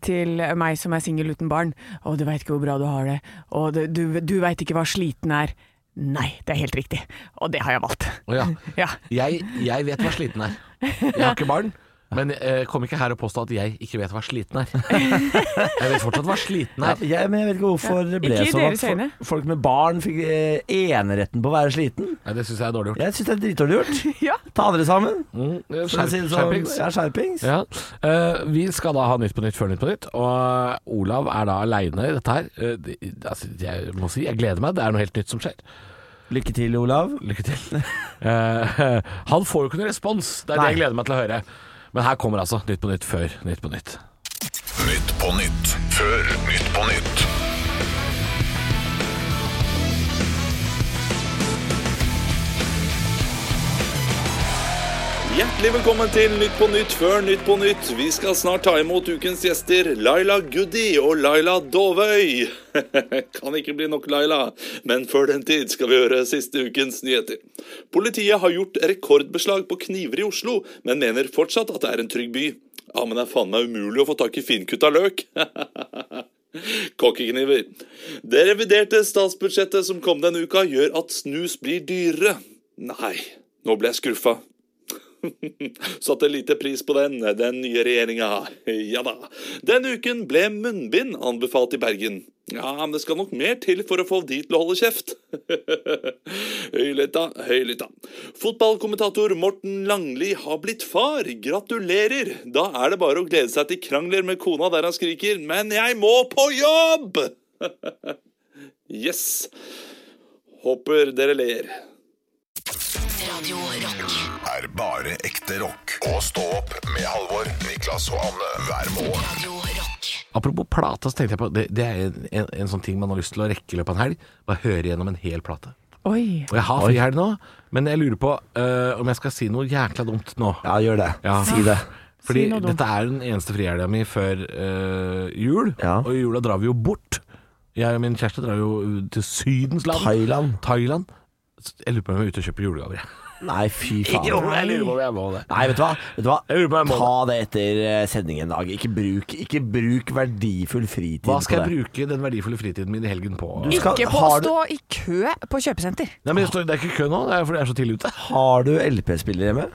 Speaker 5: til meg som er singel uten barn Å, du veit ikke hvor bra du har det. Og du, du, du veit ikke hva sliten er. Nei, det er helt riktig. Og det har jeg valgt.
Speaker 4: Og ja,
Speaker 5: Ja.
Speaker 4: Jeg, jeg vet hva sliten er. Jeg har ikke barn. Men eh, kom ikke her og påstå at jeg ikke vet hva
Speaker 3: (laughs)
Speaker 4: sliten er. Jeg vet fortsatt hva sliten
Speaker 3: Ja,
Speaker 4: er.
Speaker 3: jeg, men jeg vet ikke hvorfor det ble
Speaker 5: Ikke i
Speaker 3: sånn at
Speaker 5: deres øyne.
Speaker 3: fol- folk med barn fikk eh, eneretten på å være sliten.
Speaker 4: Nei, det syns jeg er dårlig gjort.
Speaker 3: Jeg syns det er dritdårlig gjort.
Speaker 5: ja.
Speaker 3: Ta dere sammen.
Speaker 4: Mm, eh,
Speaker 3: for å si
Speaker 4: skjerp-
Speaker 3: det sånn.
Speaker 4: Skjerpings.
Speaker 3: Ja, skjerpings.
Speaker 4: Ja. Eh, vi skal da ha Nytt på nytt før Nytt på nytt, og eh, Olav er da aleine i dette her. Eh, det, altså, jeg må si jeg gleder meg, det er noe helt nytt som skjer.
Speaker 3: Lykke til, Olav.
Speaker 4: Lykke
Speaker 3: (laughs)
Speaker 4: til. Eh, (laughs) han får jo ikke noe respons, det er det jeg gleder meg til å høre. Men her kommer altså Nytt på nytt før Nytt på nytt.
Speaker 2: Nytt på nytt før Nytt på nytt.
Speaker 6: Hjertelig velkommen til Nytt på Nytt før Nytt på Nytt. Vi skal snart ta imot ukens gjester Laila Goody og Laila Dovøy. (laughs) kan ikke bli nok Laila, men før den tid skal vi høre siste ukens nyheter. Politiet har gjort rekordbeslag på kniver i Oslo, men mener fortsatt at det er en trygg by. Ja, men det er faen meg umulig å få tak i finkutta løk. (laughs) Kokkekniver. Det reviderte statsbudsjettet som kom denne uka, gjør at snus blir dyrere. Nei, nå ble jeg skuffa. Satte lite pris på den, den nye regjeringa. Ja da. Den uken ble munnbind anbefalt i Bergen. Ja, men det skal nok mer til for å få de til å holde kjeft. (laughs) høylytta, høylytta. Fotballkommentator Morten Langli har blitt far. Gratulerer! Da er det bare å glede seg til krangler med kona der han skriker 'Men jeg må på jobb!' (laughs) yes. Håper dere ler.
Speaker 1: Radio Rock.
Speaker 2: Er bare ekte rock. Og stå opp med Halvor, Niklas og Anne hver morgen.
Speaker 1: Radio Rock.
Speaker 4: Apropos plate, så tenkte jeg på Det, det er en, en, en sånn ting man har lyst til å rekke i løpet av en helg. Bare høre gjennom en hel plate.
Speaker 5: Oi.
Speaker 4: Og jeg har frihelg nå, men jeg lurer på øh, om jeg skal si noe jækla dumt nå.
Speaker 3: Ja, gjør det.
Speaker 4: Ja.
Speaker 3: Si det.
Speaker 4: Fordi
Speaker 5: noe dumt.
Speaker 4: dette er den eneste frihelga mi før øh, jul,
Speaker 3: Ja.
Speaker 4: og i jula drar vi jo bort. Jeg og min kjæreste drar jo til Sydens land.
Speaker 3: Thailand.
Speaker 4: Thailand. Så Jeg lurer på om jeg er ute og kjøper julegaver. jeg.
Speaker 3: Nei, fy faen.
Speaker 4: Jo, jeg lurer på om jeg må det.
Speaker 3: Nei, vet du hva? Vet du hva?
Speaker 4: Jeg lurer på om jeg må
Speaker 3: Ta det etter eh, sending en dag. Ikke bruk, ikke bruk verdifull fritid
Speaker 4: Hva
Speaker 3: på
Speaker 4: skal
Speaker 3: det.
Speaker 4: jeg bruke den verdifulle fritiden min i helgen på?
Speaker 3: Du skal-
Speaker 5: Ikke på å
Speaker 3: har, du,
Speaker 5: stå i kø på kjøpesenter.
Speaker 4: Nei, men det, står, det er ikke kø nå, det er fordi jeg er så tidlig ute.
Speaker 3: har du LP-spiller hjemme?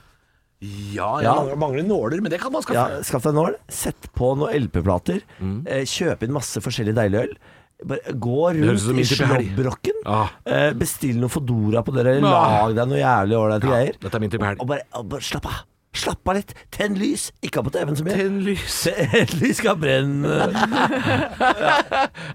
Speaker 4: Ja, jeg
Speaker 3: Ja.
Speaker 4: mangler- mangler nåler, men det kan man skaffe.
Speaker 3: Ja, Skaff deg en nål, sett på noen LP-plater,
Speaker 4: Mm.
Speaker 3: eh, kjøp inn masse forskjellig deilig øl. Bare gå
Speaker 4: høres ut
Speaker 3: rundt
Speaker 4: som
Speaker 3: i
Speaker 4: min type helg.
Speaker 3: slåbroken,
Speaker 4: Ah.
Speaker 3: eh, bestill noe Fodora på dere,
Speaker 4: Ah.
Speaker 3: lag deg noe jævlig ålreite
Speaker 4: Ja,
Speaker 3: greier.
Speaker 4: dette er min type helg.
Speaker 3: Og bare, og bare slapp av. Slapp av litt. Tenn lys. Ikke ha på TV-en så mye.
Speaker 4: Tenn lys.
Speaker 3: (laughs) Tenn lys skal
Speaker 4: (laughs)
Speaker 3: brenne.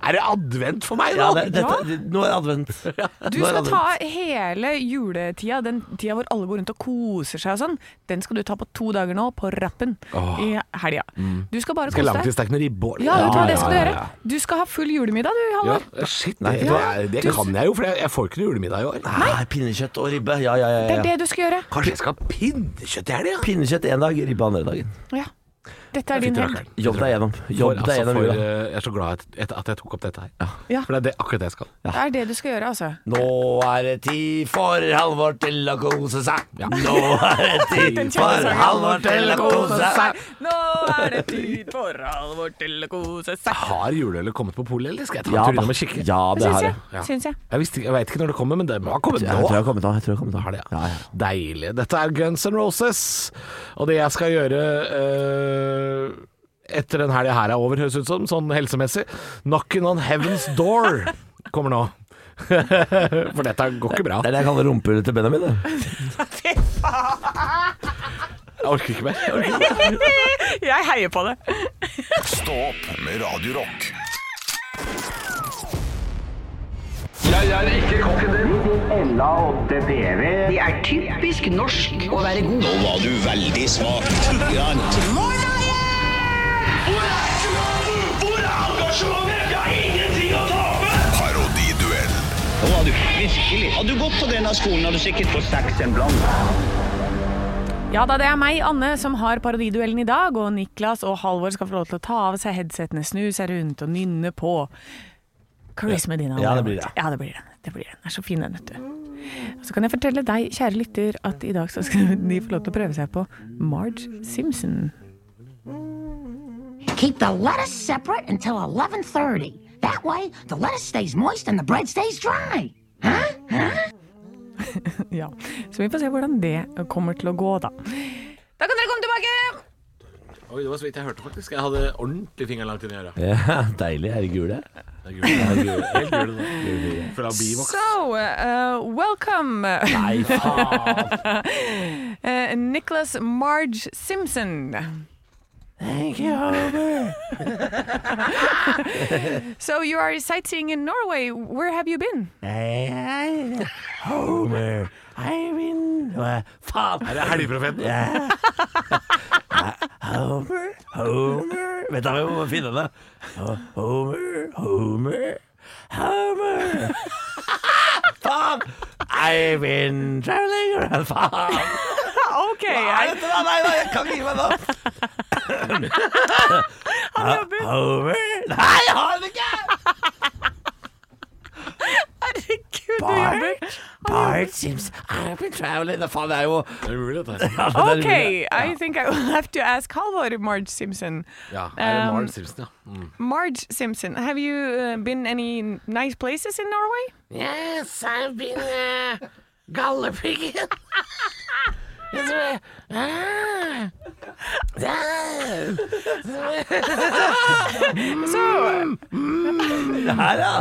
Speaker 4: Er det advent for meg,
Speaker 3: Ja,
Speaker 4: da?
Speaker 3: det, dette, Nå er det
Speaker 4: (laughs)
Speaker 3: advent.
Speaker 5: Du
Speaker 3: Nå er
Speaker 5: skal
Speaker 3: det
Speaker 5: ta
Speaker 3: advent.
Speaker 5: hele juletida, den tida hvor alle går rundt og koser seg og sånn, den skal du ta på to dager nå, på rappen, i helga. Du skal bare
Speaker 4: Skal
Speaker 5: kose deg.
Speaker 4: langtidsdekke noen ribbe og
Speaker 5: Ja, vet du hva det skal du
Speaker 4: ja,
Speaker 5: gjøre?
Speaker 4: ja.
Speaker 5: Du skal ha full julemiddag du,
Speaker 4: Ja,
Speaker 5: Halvor.
Speaker 4: shit,
Speaker 3: Nei,
Speaker 4: det,
Speaker 3: vet du hva?
Speaker 4: det, det kan jeg jo, for jeg, jeg får ikke noe julemiddag i år.
Speaker 3: Nei, pinnekjøtt og ribbe. Ja, ja, ja. ja.
Speaker 5: Det er det du skal gjøre.
Speaker 4: Kanskje jeg skal ha pinnekjøtt i helga?
Speaker 3: Pinnekjøtt én dag, ribbe andre dagen.
Speaker 5: Ja. Dette er din helg.
Speaker 3: Jobb deg gjennom. Jobb deg
Speaker 4: altså,
Speaker 3: gjennom
Speaker 4: for,
Speaker 3: jula.
Speaker 4: eh, jeg er så glad at, at jeg tok opp dette her.
Speaker 5: Ja.
Speaker 4: For det er det, akkurat det jeg skal.
Speaker 5: Det er det du skal gjøre, altså.
Speaker 3: Nå er det tid for Halvor til å kose seg. Nå er (laughs) det tid
Speaker 5: Den
Speaker 3: for
Speaker 5: kjente sangen.
Speaker 3: Halvor til å kose seg.
Speaker 5: Nå er det tid for Halvor til å kose seg.
Speaker 4: Har juleølet kommet på polet, eller skal jeg ta
Speaker 3: Ja,
Speaker 4: en tur
Speaker 3: da.
Speaker 4: innom og kikke?
Speaker 3: ja Ah, det
Speaker 5: Det syns
Speaker 3: har
Speaker 5: jeg.
Speaker 3: jeg.
Speaker 4: Ja.
Speaker 5: Syns jeg.
Speaker 4: Jeg, visste ikke- jeg veit ikke når det kommer, men det må ha kommet
Speaker 3: Jeg tror jeg
Speaker 4: nå.
Speaker 3: har kommet av. Jeg tror jeg har kommet av.
Speaker 4: Har det, ja.
Speaker 3: Ja, ja.
Speaker 4: Deilig. Dette er Guns N' Roses, og det jeg skal gjøre eh, etter den helga her er over, høres ut som, sånn helsemessig Knocking on Heaven's Door kommer nå. (laughs) For dette går ikke bra.
Speaker 3: Det er det jeg kaller rumpehullet til Benjamin. det. (laughs)
Speaker 4: Jeg orker ikke mer. Jeg orker ikke mer.
Speaker 5: (laughs) Jeg heier på det.
Speaker 2: Stå opp med Radio Rock.
Speaker 7: Nå var du veldig smak.
Speaker 2: Parodiduell.
Speaker 7: Nå var du virkelig. Hadde du gått på denne skolen, hadde du sikkert fått seks en blant.
Speaker 5: Ja da, det er meg, Anne, som har parodiduellen i dag, og Niklas og Halvor skal få lov til å ta av seg headsetene, snu seg rundt og nynne på. Charisma din, Halvor.
Speaker 3: Ja, det blir det.
Speaker 5: Ja, det blir den. Det blir den. Den er så fin, den, vet du. Og så kan jeg fortelle deg, kjære lytter, at i dag så skal (laughs) de få lov til å prøve seg på Marge Simpson.
Speaker 8: Keep the lettuce separate until 11:30. That way, the lettuce stays moist and the bread stays dry.
Speaker 5: Ja. Så vi får se hvordan det kommer til å gå, da. Da kan dere komme tilbake!
Speaker 4: Oi, det var så vidt jeg hørte, faktisk. Jeg hadde ordentlig fingeren langt inn i øret.
Speaker 3: Ja, deilig. Er det gule?
Speaker 4: Det er gul, det er gul, helt gul, det er. Fra Bivox.
Speaker 5: So, uh, welcome,
Speaker 3: Nei, faen.
Speaker 5: (laughs) uh, Nicholas Marge Simpson. So you are sightseeing in Norway. Where have you been?
Speaker 3: Nei, Homer, I'm in Hva Faen!
Speaker 4: Er det Helgeprofeten?
Speaker 3: Homer, Homer Vent da, vi må finne det. Homer, Homer, Homer. Faen! I've been traveling around Faen!
Speaker 5: Okay,
Speaker 3: Nei, vet du hva, nei, nei, jeg kan ikke gi meg nå. Homer Nei, jeg har den ikke!
Speaker 5: herregud, du jobber.
Speaker 3: Bart, Bart Ah, Sims, I've been traveling Det faen, det er jo
Speaker 4: Det er umulig, dette.
Speaker 3: Ja, det er
Speaker 5: Okay, I think I will have to ask Halvor Marge Simpson.
Speaker 4: Ja, er det
Speaker 5: Um,
Speaker 4: Maren Simpson, ja. Mm.
Speaker 5: Marge Simpson, have you uh, been any nice places in Norway?
Speaker 4: Yes, I've been uh, gallepiggen.
Speaker 3: Det her, ja.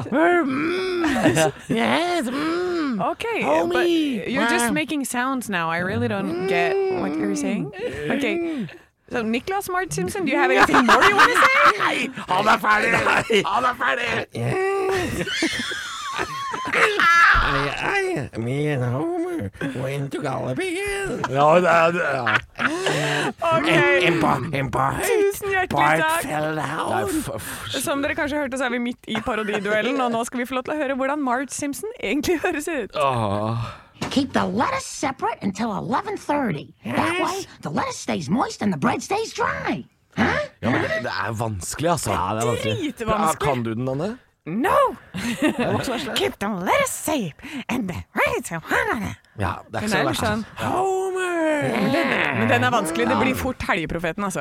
Speaker 4: Yes, mm.
Speaker 5: Okay, but
Speaker 4: Homie.
Speaker 5: you're just
Speaker 4: Wow.
Speaker 5: making sounds now. I really don't get what you're saying. Okay. So, Niklas Marge Simpson, do you have anything more you want to say?
Speaker 4: Nei, han er ferdig! Han er ferdig!
Speaker 3: I, me and Homer went to Galibian.
Speaker 4: Ja, det er, det er,
Speaker 5: Ok, tusen hjertelig takk.
Speaker 3: fell
Speaker 4: Nei,
Speaker 3: down.
Speaker 4: f- f-
Speaker 5: Som dere kanskje hørte, så er vi midt i parodiduellen, og nå skal vi få lov til å høre hvordan Marge Simpson egentlig høres ut.
Speaker 4: Åh.
Speaker 8: Keep the lettuce separate until 11:30. That way, the lettuce stays moist and the bread stays dry. Huh?
Speaker 4: Ja, men det er vanskelig, altså. Ja, det er
Speaker 5: vanskelig. Dritvanskelig.
Speaker 4: Kan du den, Anne?
Speaker 5: No! Keep them let us save, and the right to honor.
Speaker 4: Ja, det er
Speaker 5: Den
Speaker 4: ikke så
Speaker 5: er litt
Speaker 4: verst.
Speaker 5: sånn Men den er vanskelig. Det blir fort Helgeprofeten, altså.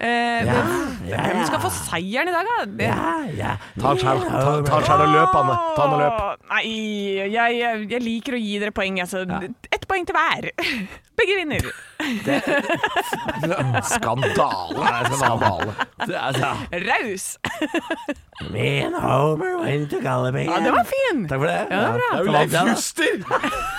Speaker 5: Eh, det- Hvem skal få seieren i dag, da? Det-
Speaker 4: Ta den selv, ta- ta den selv og løp, Anne. Ta den og løp.
Speaker 5: Åh, Nei, jeg, jeg, jeg liker å gi dere poeng. Altså. Ett poeng til hver. (laughs) Begge vinner.
Speaker 4: Skandale. Nei, skandale.
Speaker 3: Det er så-
Speaker 5: Raus.
Speaker 3: Me and Homer went to Galibian.
Speaker 5: Ja, den var fin.
Speaker 3: Takk for det.
Speaker 5: Ja, det
Speaker 4: Det
Speaker 5: er
Speaker 4: er jo
Speaker 5: bra.
Speaker 4: Leif Juster!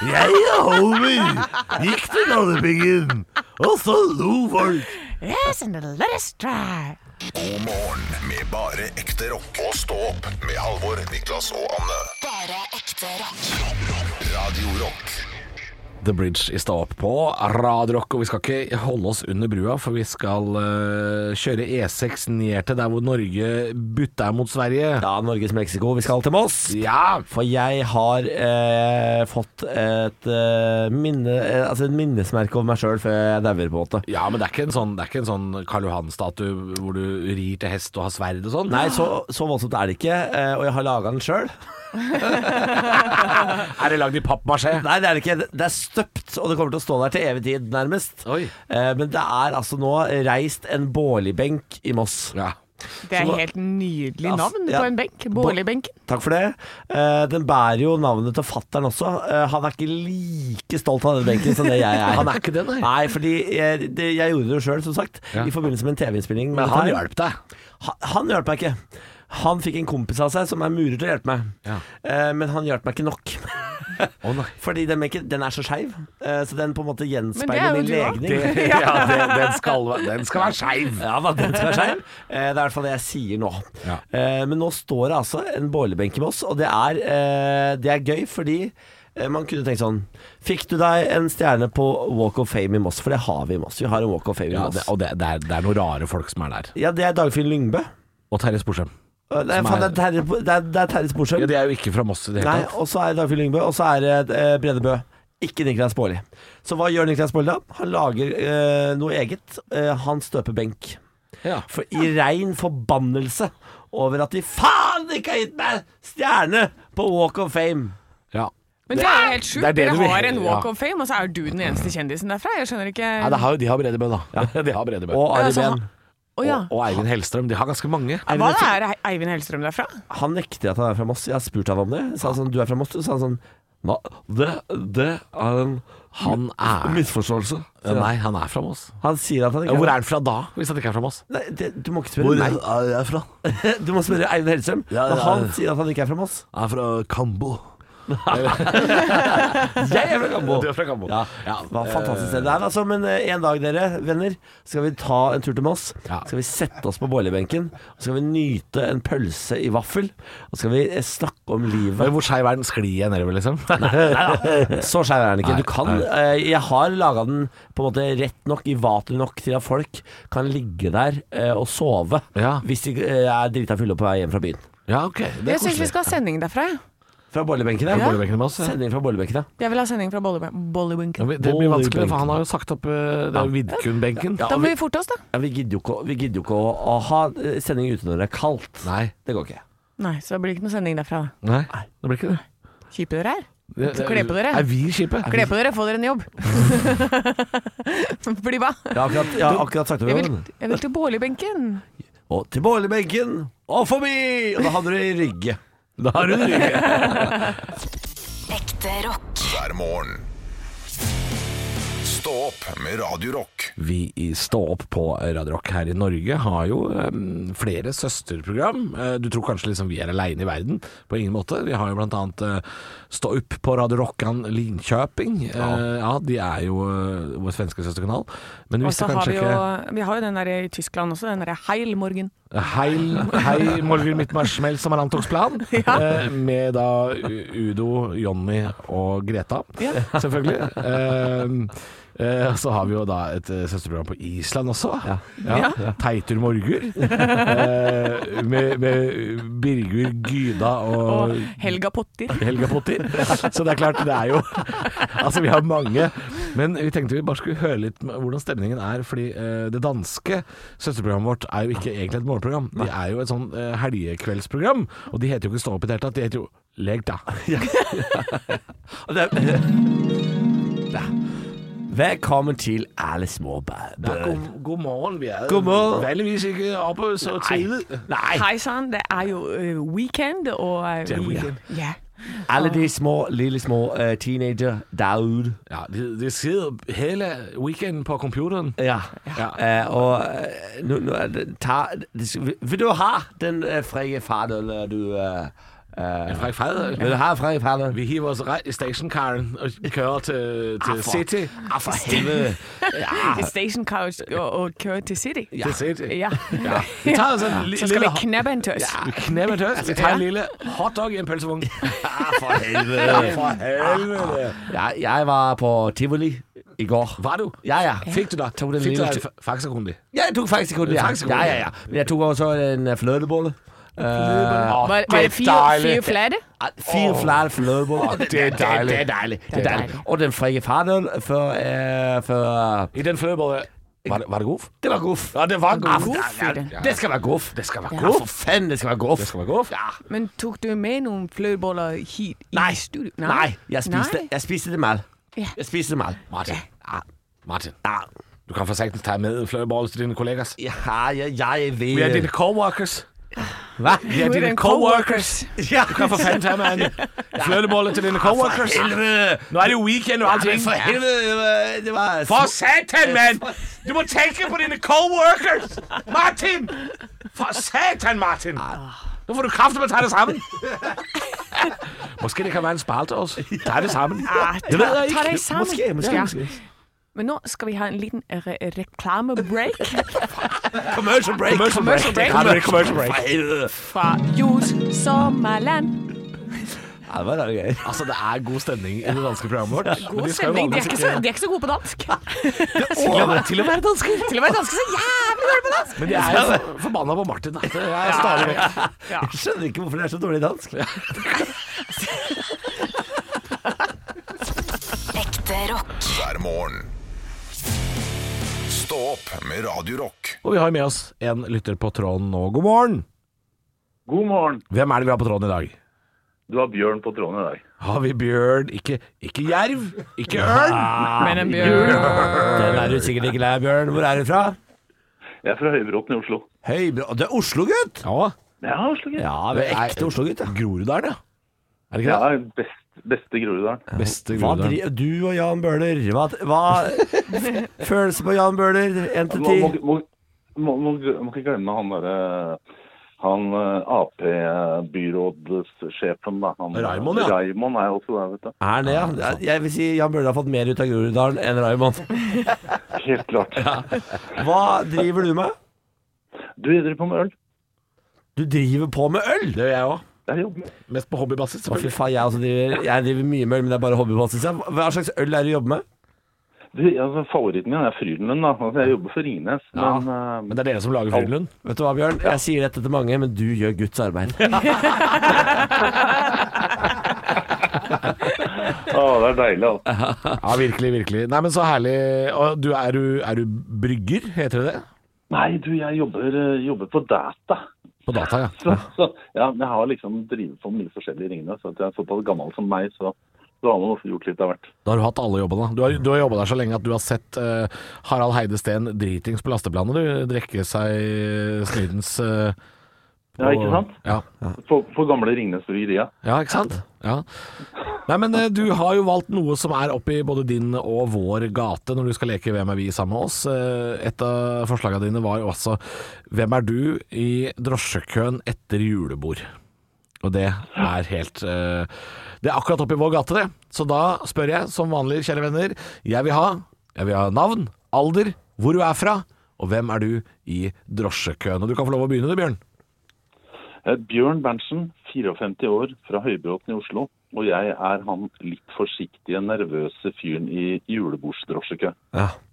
Speaker 3: Jeg og Homer gikk til Galdhøpiggen, og så lo folk.
Speaker 5: Yes, and let us try.
Speaker 2: God morgen med bare ekte rock. Og stå opp med Halvor, Niklas og Anne.
Speaker 1: Bare ekte rock.
Speaker 2: Radio Rock
Speaker 4: The Bridge i stad opp på Radio Rock, og vi skal ikke holde oss under brua, for vi skal eh, kjøre E6 ned til der hvor Norge butter mot Sverige.
Speaker 3: Ja, Norges Mexico, vi skal til Moss.
Speaker 4: Ja!
Speaker 3: For jeg har eh, fått et, eh, minne, eh, altså et minnesmerke over meg sjøl før jeg dauer, på en måte.
Speaker 4: Ja, men det er ikke en sånn, det er ikke en sånn Karl Johan-statue hvor du rir til hest og har sverd og sånn.
Speaker 3: Nei, så, så voldsomt er det ikke, eh, og jeg har laga den sjøl.
Speaker 4: Er det lagd i pappmasjé?
Speaker 3: (laughs) Nei, det er det ikke. Det er støpt, og det kommer til å stå der til evig tid, nærmest.
Speaker 4: Oi.
Speaker 3: Eh, men det er altså nå reist en Bårli-benk i Moss.
Speaker 4: Ja.
Speaker 5: Det er
Speaker 3: Så-
Speaker 5: helt nydelig
Speaker 3: Ja,
Speaker 5: navn
Speaker 3: ja.
Speaker 5: på en benk. Bårli-benken.
Speaker 3: Takk for det. Eh, den bærer jo navnet til fattern også. Eh, han er ikke like stolt av den benken som det jeg er.
Speaker 4: (laughs) Han er ikke det, nei.
Speaker 3: Nei, fordi jeg, det, jeg gjorde det jo sjøl, som sagt,
Speaker 4: Ja.
Speaker 3: i forbindelse med en TV-innspilling. med
Speaker 4: Men han
Speaker 3: dette her.
Speaker 4: hjalp deg.
Speaker 3: Han, han hjalp meg ikke. Han fikk en kompis av seg som er murer til å hjelpe meg,
Speaker 4: Ja.
Speaker 3: Eh, men han hjalp meg ikke nok.
Speaker 4: Å nei.
Speaker 3: (laughs) Fordi den, benken, den er så skeiv, eh, så den på en måte
Speaker 5: er
Speaker 3: gjenspeiler
Speaker 5: jo
Speaker 3: min
Speaker 5: du også.
Speaker 3: legning.
Speaker 4: (laughs)
Speaker 3: (laughs)
Speaker 4: Det, ja, det, den, skal, være- den skal være skeiv.
Speaker 3: Ja, hva den skal være skeiv. Eh,
Speaker 4: (laughs)
Speaker 3: Det er i hvert fall det jeg sier nå.
Speaker 4: Ja.
Speaker 3: Eh, Men nå står det altså en boilerbenk i Moss, og det er, eh, det er gøy fordi eh, man kunne tenkt sånn Fikk du deg en stjerne på Walk of Fame i Moss? For det har vi i Moss. Vi har en Walk of Fame i
Speaker 4: Ja,
Speaker 3: Moss.
Speaker 4: det, og det, det, er, det er noen rare folk som er der.
Speaker 3: Ja, det er Dagfinn Lyngbø.
Speaker 4: Og Terje Sporsem.
Speaker 3: Eh, Nei,
Speaker 4: Som
Speaker 3: faen, det
Speaker 4: er-
Speaker 3: er Terje- det er- det er Terje Sporsem.
Speaker 4: Ja, de er jo ikke fra Moss i det hele
Speaker 3: Nei,
Speaker 4: tatt.
Speaker 3: og så er det Dagfinn Lyngbø, og så er det eh, Brede Bø. Ikke Niklas Baarli. Så hva gjør Niklas Baarli da? Han lager eh, noe eget. Eh, han støper benk.
Speaker 4: Ja.
Speaker 3: For i rein forbannelse over at de faen ikke har gitt meg stjerne på Walk of Fame.
Speaker 4: Ja.
Speaker 5: Men det er jo helt sjukt.
Speaker 4: det er det
Speaker 5: Dere
Speaker 4: du vil-
Speaker 5: har en walk
Speaker 4: ja.
Speaker 5: of fame, og så er du den eneste kjendisen derfra. Jeg skjønner ikke
Speaker 4: Nei, det har jo, de har Bredebø, da. (laughs) De har Bredebø.
Speaker 3: Og Ari
Speaker 5: Ja, så han-
Speaker 3: Behn.
Speaker 5: Å ja.
Speaker 4: og Eivind Hellstrøm. De har ganske mange.
Speaker 5: Hva er det Eivind Hellstrøm derfra?
Speaker 3: Han nekter at han er fra Moss. Jeg har spurt han om det. Sa han sånn, du er fra Moss? Så sa han sånn Hva? Det, det er en
Speaker 4: Han er
Speaker 3: misforståelse.
Speaker 4: Nei, han er fra Moss.
Speaker 3: Han sier at han
Speaker 4: Ja,
Speaker 3: ikke
Speaker 4: hvor er han fra da, hvis han ikke er fra Moss?
Speaker 3: Nei, det, du må ikke spørre meg.
Speaker 4: er jeg fra?
Speaker 3: (laughs) Du må spørre Eivind Hellstrøm.
Speaker 4: Ja, ja,
Speaker 3: Men han sier at han ikke er fra Moss.
Speaker 4: Jeg er fra Kambo.
Speaker 3: Jeg er fra
Speaker 4: (laughs)
Speaker 3: Gambo.
Speaker 4: Du er fra Kambo.
Speaker 3: Ja, ja. Hva fantastisk sted det er. Altså, men eh, en dag, dere venner, skal vi ta en tur til Moss.
Speaker 4: Ja.
Speaker 3: Skal vi sette oss på boilerbenken, og skal vi nyte en pølse i vaffel. Og skal vi eh, snakke om livet.
Speaker 4: Men hvor skeiv er den? Sklir jeg nedover, liksom?
Speaker 3: Så skeiv er den ikke.
Speaker 4: Nei,
Speaker 3: Du kan,
Speaker 4: nei.
Speaker 3: eh, jeg har laga den på en måte rett nok, i vater nok, til at folk kan ligge der eh, og sove
Speaker 4: (laughs) Ja.
Speaker 3: hvis de eh, er drita fulle på vei hjem fra byen.
Speaker 4: Ja, ok. Det er
Speaker 5: Jeg syns vi
Speaker 4: koselig.
Speaker 5: skal ha sending derfra. jeg.
Speaker 3: Fra boilerbenken,
Speaker 4: Ja.
Speaker 3: ja.
Speaker 4: Bollebenken med oss, ja.
Speaker 3: Sending fra boilerbenken, ja.
Speaker 5: Jeg vil ha sending fra Bolle-
Speaker 4: Ja,
Speaker 5: Bollywood.
Speaker 4: men Det blir vanskelig, for han har jo sagt opp eh, det er Vidkun-benken.
Speaker 5: Da må vi forte oss, da.
Speaker 3: ja vi gidder jo ikke, å- vi gidder jo ikke å, å ha eh, sending ute når det er kaldt.
Speaker 4: Nei.
Speaker 3: Det går ikke.
Speaker 5: Nei, så det blir ikke noe sending derfra. da.
Speaker 4: Nei, det blir ikke det.
Speaker 5: Kjipe dere er.
Speaker 4: det, det
Speaker 5: Kle på dere.
Speaker 4: Er vi kjipe?
Speaker 5: Kle på dere, få dere en jobb. (laughs) Bli hva?
Speaker 3: Jeg har akkurat, jeg har akkurat sagt
Speaker 5: Jeg
Speaker 3: over
Speaker 5: vil,
Speaker 3: den.
Speaker 5: jeg vil til Bårli-benken.
Speaker 3: Og til boilerbenken og forbi! Og da havner du i Rygge.
Speaker 4: Da har du det.
Speaker 1: Ekte rock.
Speaker 2: hver morgen. Stå opp med Radio Rock.
Speaker 4: vi i Stå opp på Radio Rock her i Norge har jo
Speaker 3: eh,
Speaker 4: em, flere søsterprogram. Eh, Du tror kanskje liksom vi er aleine i verden. På ingen måte. Vi har jo blant annet eh, Stå opp på Radio Rockan Linköping. Eh, Ja, de er jo eh, vår svenske søsterkanal. Men vi
Speaker 5: Og så
Speaker 4: visste
Speaker 5: har
Speaker 4: kanskje
Speaker 5: vi jo,
Speaker 4: ikke
Speaker 5: vi har jo den der i Tyskland også, den derre Heil Morgen.
Speaker 4: Heil, hei, Morgen Midtmarschmell som er
Speaker 5: (laughs)
Speaker 4: Antoksplan. eh, Med da U- Udo, Jonny og Greta, selvfølgelig. Eh, eh, så har vi jo da et eh, søsterprogram på Island også. Ja. Teitur
Speaker 5: (laughs)
Speaker 4: Morgur. Eh, med, med Birgur Gyda og,
Speaker 5: Og Helga Potter.
Speaker 4: Helga Potter. Så det er klart, det er jo (laughs) Altså, vi har mange. Men vi tenkte vi bare skulle høre litt med hvordan stemningen er. Fordi eh, det danske søsterprogrammet vårt er jo ikke egentlig et morgenprogram. De er jo et sånn eh, helgekveldsprogram. Og de heter jo ikke Stå opp i det hele tatt, de heter jo Leg
Speaker 3: (laughs)
Speaker 4: da.
Speaker 3: Og det
Speaker 4: (laughs)
Speaker 3: er... Der. Velkommen til alle små bø- bø-
Speaker 4: morgen. Vi er
Speaker 3: God morgen.
Speaker 4: vanligvis ikke oppe så tidlig.
Speaker 3: Nei.
Speaker 5: Hei sann, det er jo eh, weekend, og eh,
Speaker 4: er
Speaker 5: vi-
Speaker 4: weekend.
Speaker 5: Ja.
Speaker 3: Alle de små, lille små eh, teenager der ute.
Speaker 4: Ja, de, de sitter hele weekenden på computeren.
Speaker 3: Ja.
Speaker 4: Ja.
Speaker 3: Eh, og eh, nå, nå er det, ta, det skal, Vil du ha den uh, freie faderen eh, du eh, eh,
Speaker 4: Fra Fredrik.
Speaker 3: Vil du ha freie faderen?
Speaker 4: Vi hiver oss rett i stationcaren og kører til, til City.
Speaker 3: Ja, Ah, for helvete. Ja.
Speaker 5: Station couch og, og køre til City.
Speaker 4: Til City.
Speaker 5: Ja.
Speaker 4: Vi tar altså
Speaker 3: sånn
Speaker 4: en li-
Speaker 5: Så skal vi
Speaker 4: lille ho-
Speaker 5: knabbe en tøs.
Speaker 4: Ja, vi knebber tøst. Vi tar en lille hotdog i en pølsevogn.
Speaker 3: Ja, Ah, for helvete.
Speaker 4: For helvete.
Speaker 3: Jeg, jeg var på tivoli i går.
Speaker 4: Var du?
Speaker 3: Ja, ja.
Speaker 4: Fikk du da?
Speaker 3: Tog den
Speaker 4: Fikk
Speaker 3: lille
Speaker 4: du da en
Speaker 3: tu-
Speaker 4: fa- faksakundi?
Speaker 3: Ja, jeg tok faktisk ikke det. Ja.
Speaker 4: faktisk ikke
Speaker 3: Ja,
Speaker 4: det.
Speaker 3: ja, ja. Men jeg tok også en eh, flødebolle. Eh,
Speaker 5: Var, var det fire, fire flere?
Speaker 3: Ja, Fire flere flødeboller.
Speaker 4: det er deilig.
Speaker 3: Det, det er deilig. Det er deilig. Og den freie faderen før, eh, før
Speaker 4: I den flødebolle var, det- var det goff?
Speaker 3: Det var goff.
Speaker 4: Ja, det var goff.
Speaker 5: Goff,
Speaker 4: Ja,
Speaker 5: er det?
Speaker 4: ja,
Speaker 3: Det skal være goff.
Speaker 4: Det skal være
Speaker 3: Ja,
Speaker 4: goff.
Speaker 3: for faen, det skal være goff.
Speaker 4: Det skal være goff.
Speaker 5: Men tok du med noen fløyeboller hit i
Speaker 3: Nei.
Speaker 5: studio?
Speaker 3: Nei, jeg spiste,
Speaker 5: Nei.
Speaker 3: jeg spiste dem alle.
Speaker 5: Ja.
Speaker 3: Jeg spiste dem alle.
Speaker 4: Martin. Martin.
Speaker 3: Ja,
Speaker 4: Du kan for sagtens tage med flødebolle til dine kollegas.
Speaker 3: ja, ja jeg
Speaker 4: Vi er
Speaker 3: ved
Speaker 4: dine coworkers.
Speaker 3: Hva?
Speaker 4: Vi er dine
Speaker 5: dine
Speaker 4: coworkers.
Speaker 3: Ja,
Speaker 4: Du kan for fanden tage med en
Speaker 3: (laughs)
Speaker 4: flødebolle til dine coworkers.
Speaker 3: helvete!
Speaker 4: Nu er det jo weekend og
Speaker 3: Ja, men
Speaker 4: allting.
Speaker 3: Altså, for helvete, det var- det var
Speaker 4: For satan, mand! Du må tænke på dine coworkers! Martin! For satan, Martin!
Speaker 3: Ah.
Speaker 4: Nu får du kraft med at tage det
Speaker 3: (laughs)
Speaker 4: sammen. Måske det kan være en spalte også. Tag det sammen.
Speaker 5: Ah,
Speaker 4: Det ved jeg ikke.
Speaker 5: Ta deg sammen.
Speaker 3: Måske, måske,
Speaker 5: Ja.
Speaker 3: måske.
Speaker 5: Men nå skal vi ha en liten re reklamebreak
Speaker 3: Commercial break.
Speaker 5: Commercial break.
Speaker 4: Ja, det er commercial break.
Speaker 3: For helvete.
Speaker 5: fra Juice Sommerland.
Speaker 3: Ja, det var da gøy.
Speaker 4: Altså, det er god stemning i det danske programmet vårt. men
Speaker 5: God
Speaker 4: de skal jo
Speaker 5: stemning. De er
Speaker 4: vanligvis
Speaker 5: ikke så, de er ikke så gode på dansk.
Speaker 4: (laughs) Til og med- Til og med danske.
Speaker 5: Til og med danske så jævlig dårlige på dansk.
Speaker 4: Men de er jo for- forbanna på Martin. da. Det er stadig vekk.
Speaker 3: Jeg skjønner ikke hvorfor det er så dårlig dansk.
Speaker 1: Ekte rock.
Speaker 2: hver morgen. Stå opp med Radio Rock.
Speaker 4: Og vi har med oss en lytter på tråden nå. God morgen!
Speaker 9: God morgen.
Speaker 4: Hvem er det vi har på tråden i dag?
Speaker 9: Du har bjørn på tråden i dag.
Speaker 4: Har vi bjørn? Ikke, ikke jerv, ikke ørn.
Speaker 5: (laughs) Men en bjørn
Speaker 3: Den er du sikkert ikke lei av, Bjørn. Hvor er du fra?
Speaker 9: Jeg er fra Høybråten i Oslo.
Speaker 3: Høy... Du er Oslo-gutt?
Speaker 4: Ja,
Speaker 9: Ja, Oslo, gutt.
Speaker 3: Ja, du er ekte Oslo-gutt. ja.
Speaker 4: Groruddalen, ja. Er det
Speaker 9: Ja,
Speaker 4: ikke det?
Speaker 9: best, beste Groruddalen.
Speaker 4: Beste
Speaker 3: Hva
Speaker 4: Groruddalen.
Speaker 3: driver Du og Jan Bøhler, hva, hva
Speaker 4: (laughs)
Speaker 3: Følelser på Jan Bøhler? Én til
Speaker 9: Må,
Speaker 3: ti?
Speaker 9: må, må, må, må, må ikke glemme han derre han eh, Ap-byrådssjefen, da. Han, eh,
Speaker 4: Raimond, ja.
Speaker 9: Raimond er jo også der, vet du.
Speaker 3: Er han det, ja? Jeg vil si Jan Bøhler har fått mer ut av Groruddalen enn Raymond.
Speaker 9: Helt klart.
Speaker 3: Hva driver du med?
Speaker 9: Du driver på med øl?
Speaker 3: Du driver på med øl!
Speaker 4: Det gjør jeg òg.
Speaker 9: Jeg jobber med
Speaker 4: Mest på hobbybasis.
Speaker 3: Å, fy
Speaker 4: selvfølgelig.
Speaker 3: faen, jeg, også driver, jeg driver mye med øl, men det er bare hobbybasis. ja. Hva slags øl er det du jobber med?
Speaker 9: du, altså, Favoritten min er Frydenlund, da. Altså, jeg jobber for Ines. Men, eh,
Speaker 4: Men det er dere som lager Frydenlund?
Speaker 3: Vet du hva, Bjørn? Jeg sier dette til mange, men du gjør Guds arbeid.
Speaker 9: å, det er deilig. Altså.
Speaker 4: Ja, (laughs) virkelig, virkelig. Nei, men så herlig. Og du, er, du, er du brygger, heter det det?
Speaker 9: Nei, du, jeg jobber, eh, jobber på data.
Speaker 4: På data, ja.
Speaker 9: Så, så, ja, men jeg har liksom drevet på mye forskjellige ringene, så at jeg er såpass gammel som meg, så da har man også gjort litt av hvert.
Speaker 4: Da har du hatt alle jobbene. Du har, du har jobba der så lenge at du har sett eh, Harald Heide Steen dritings på lasteplanet, du. Drikke seg snydens eh,
Speaker 9: Ja, ikke sant?
Speaker 4: Ja.
Speaker 9: På, på gamle Ringnes Bryggeria.
Speaker 4: ja, ikke sant? Ja. Nei, men eh, du har jo valgt noe som er oppi både din og vår gate når du skal leke Hvem er vi sammen med oss. Eh, Et av forslagene dine var jo altså Hvem er du i drosjekøen etter julebord? Og det er helt eh, Det er akkurat oppi vår gate, det. Så da spør jeg som vanlig, kjære venner, jeg vil ha, jeg vil ha navn, alder, hvor du er fra, og hvem er du i drosjekøen? Og du kan få lov å begynne du, Bjørn.
Speaker 9: Eh, Bjørn Berntsen, 54 år, fra Høybråten i Oslo. Og jeg er han litt forsiktige, nervøse fyren i julebordsdrosjekø.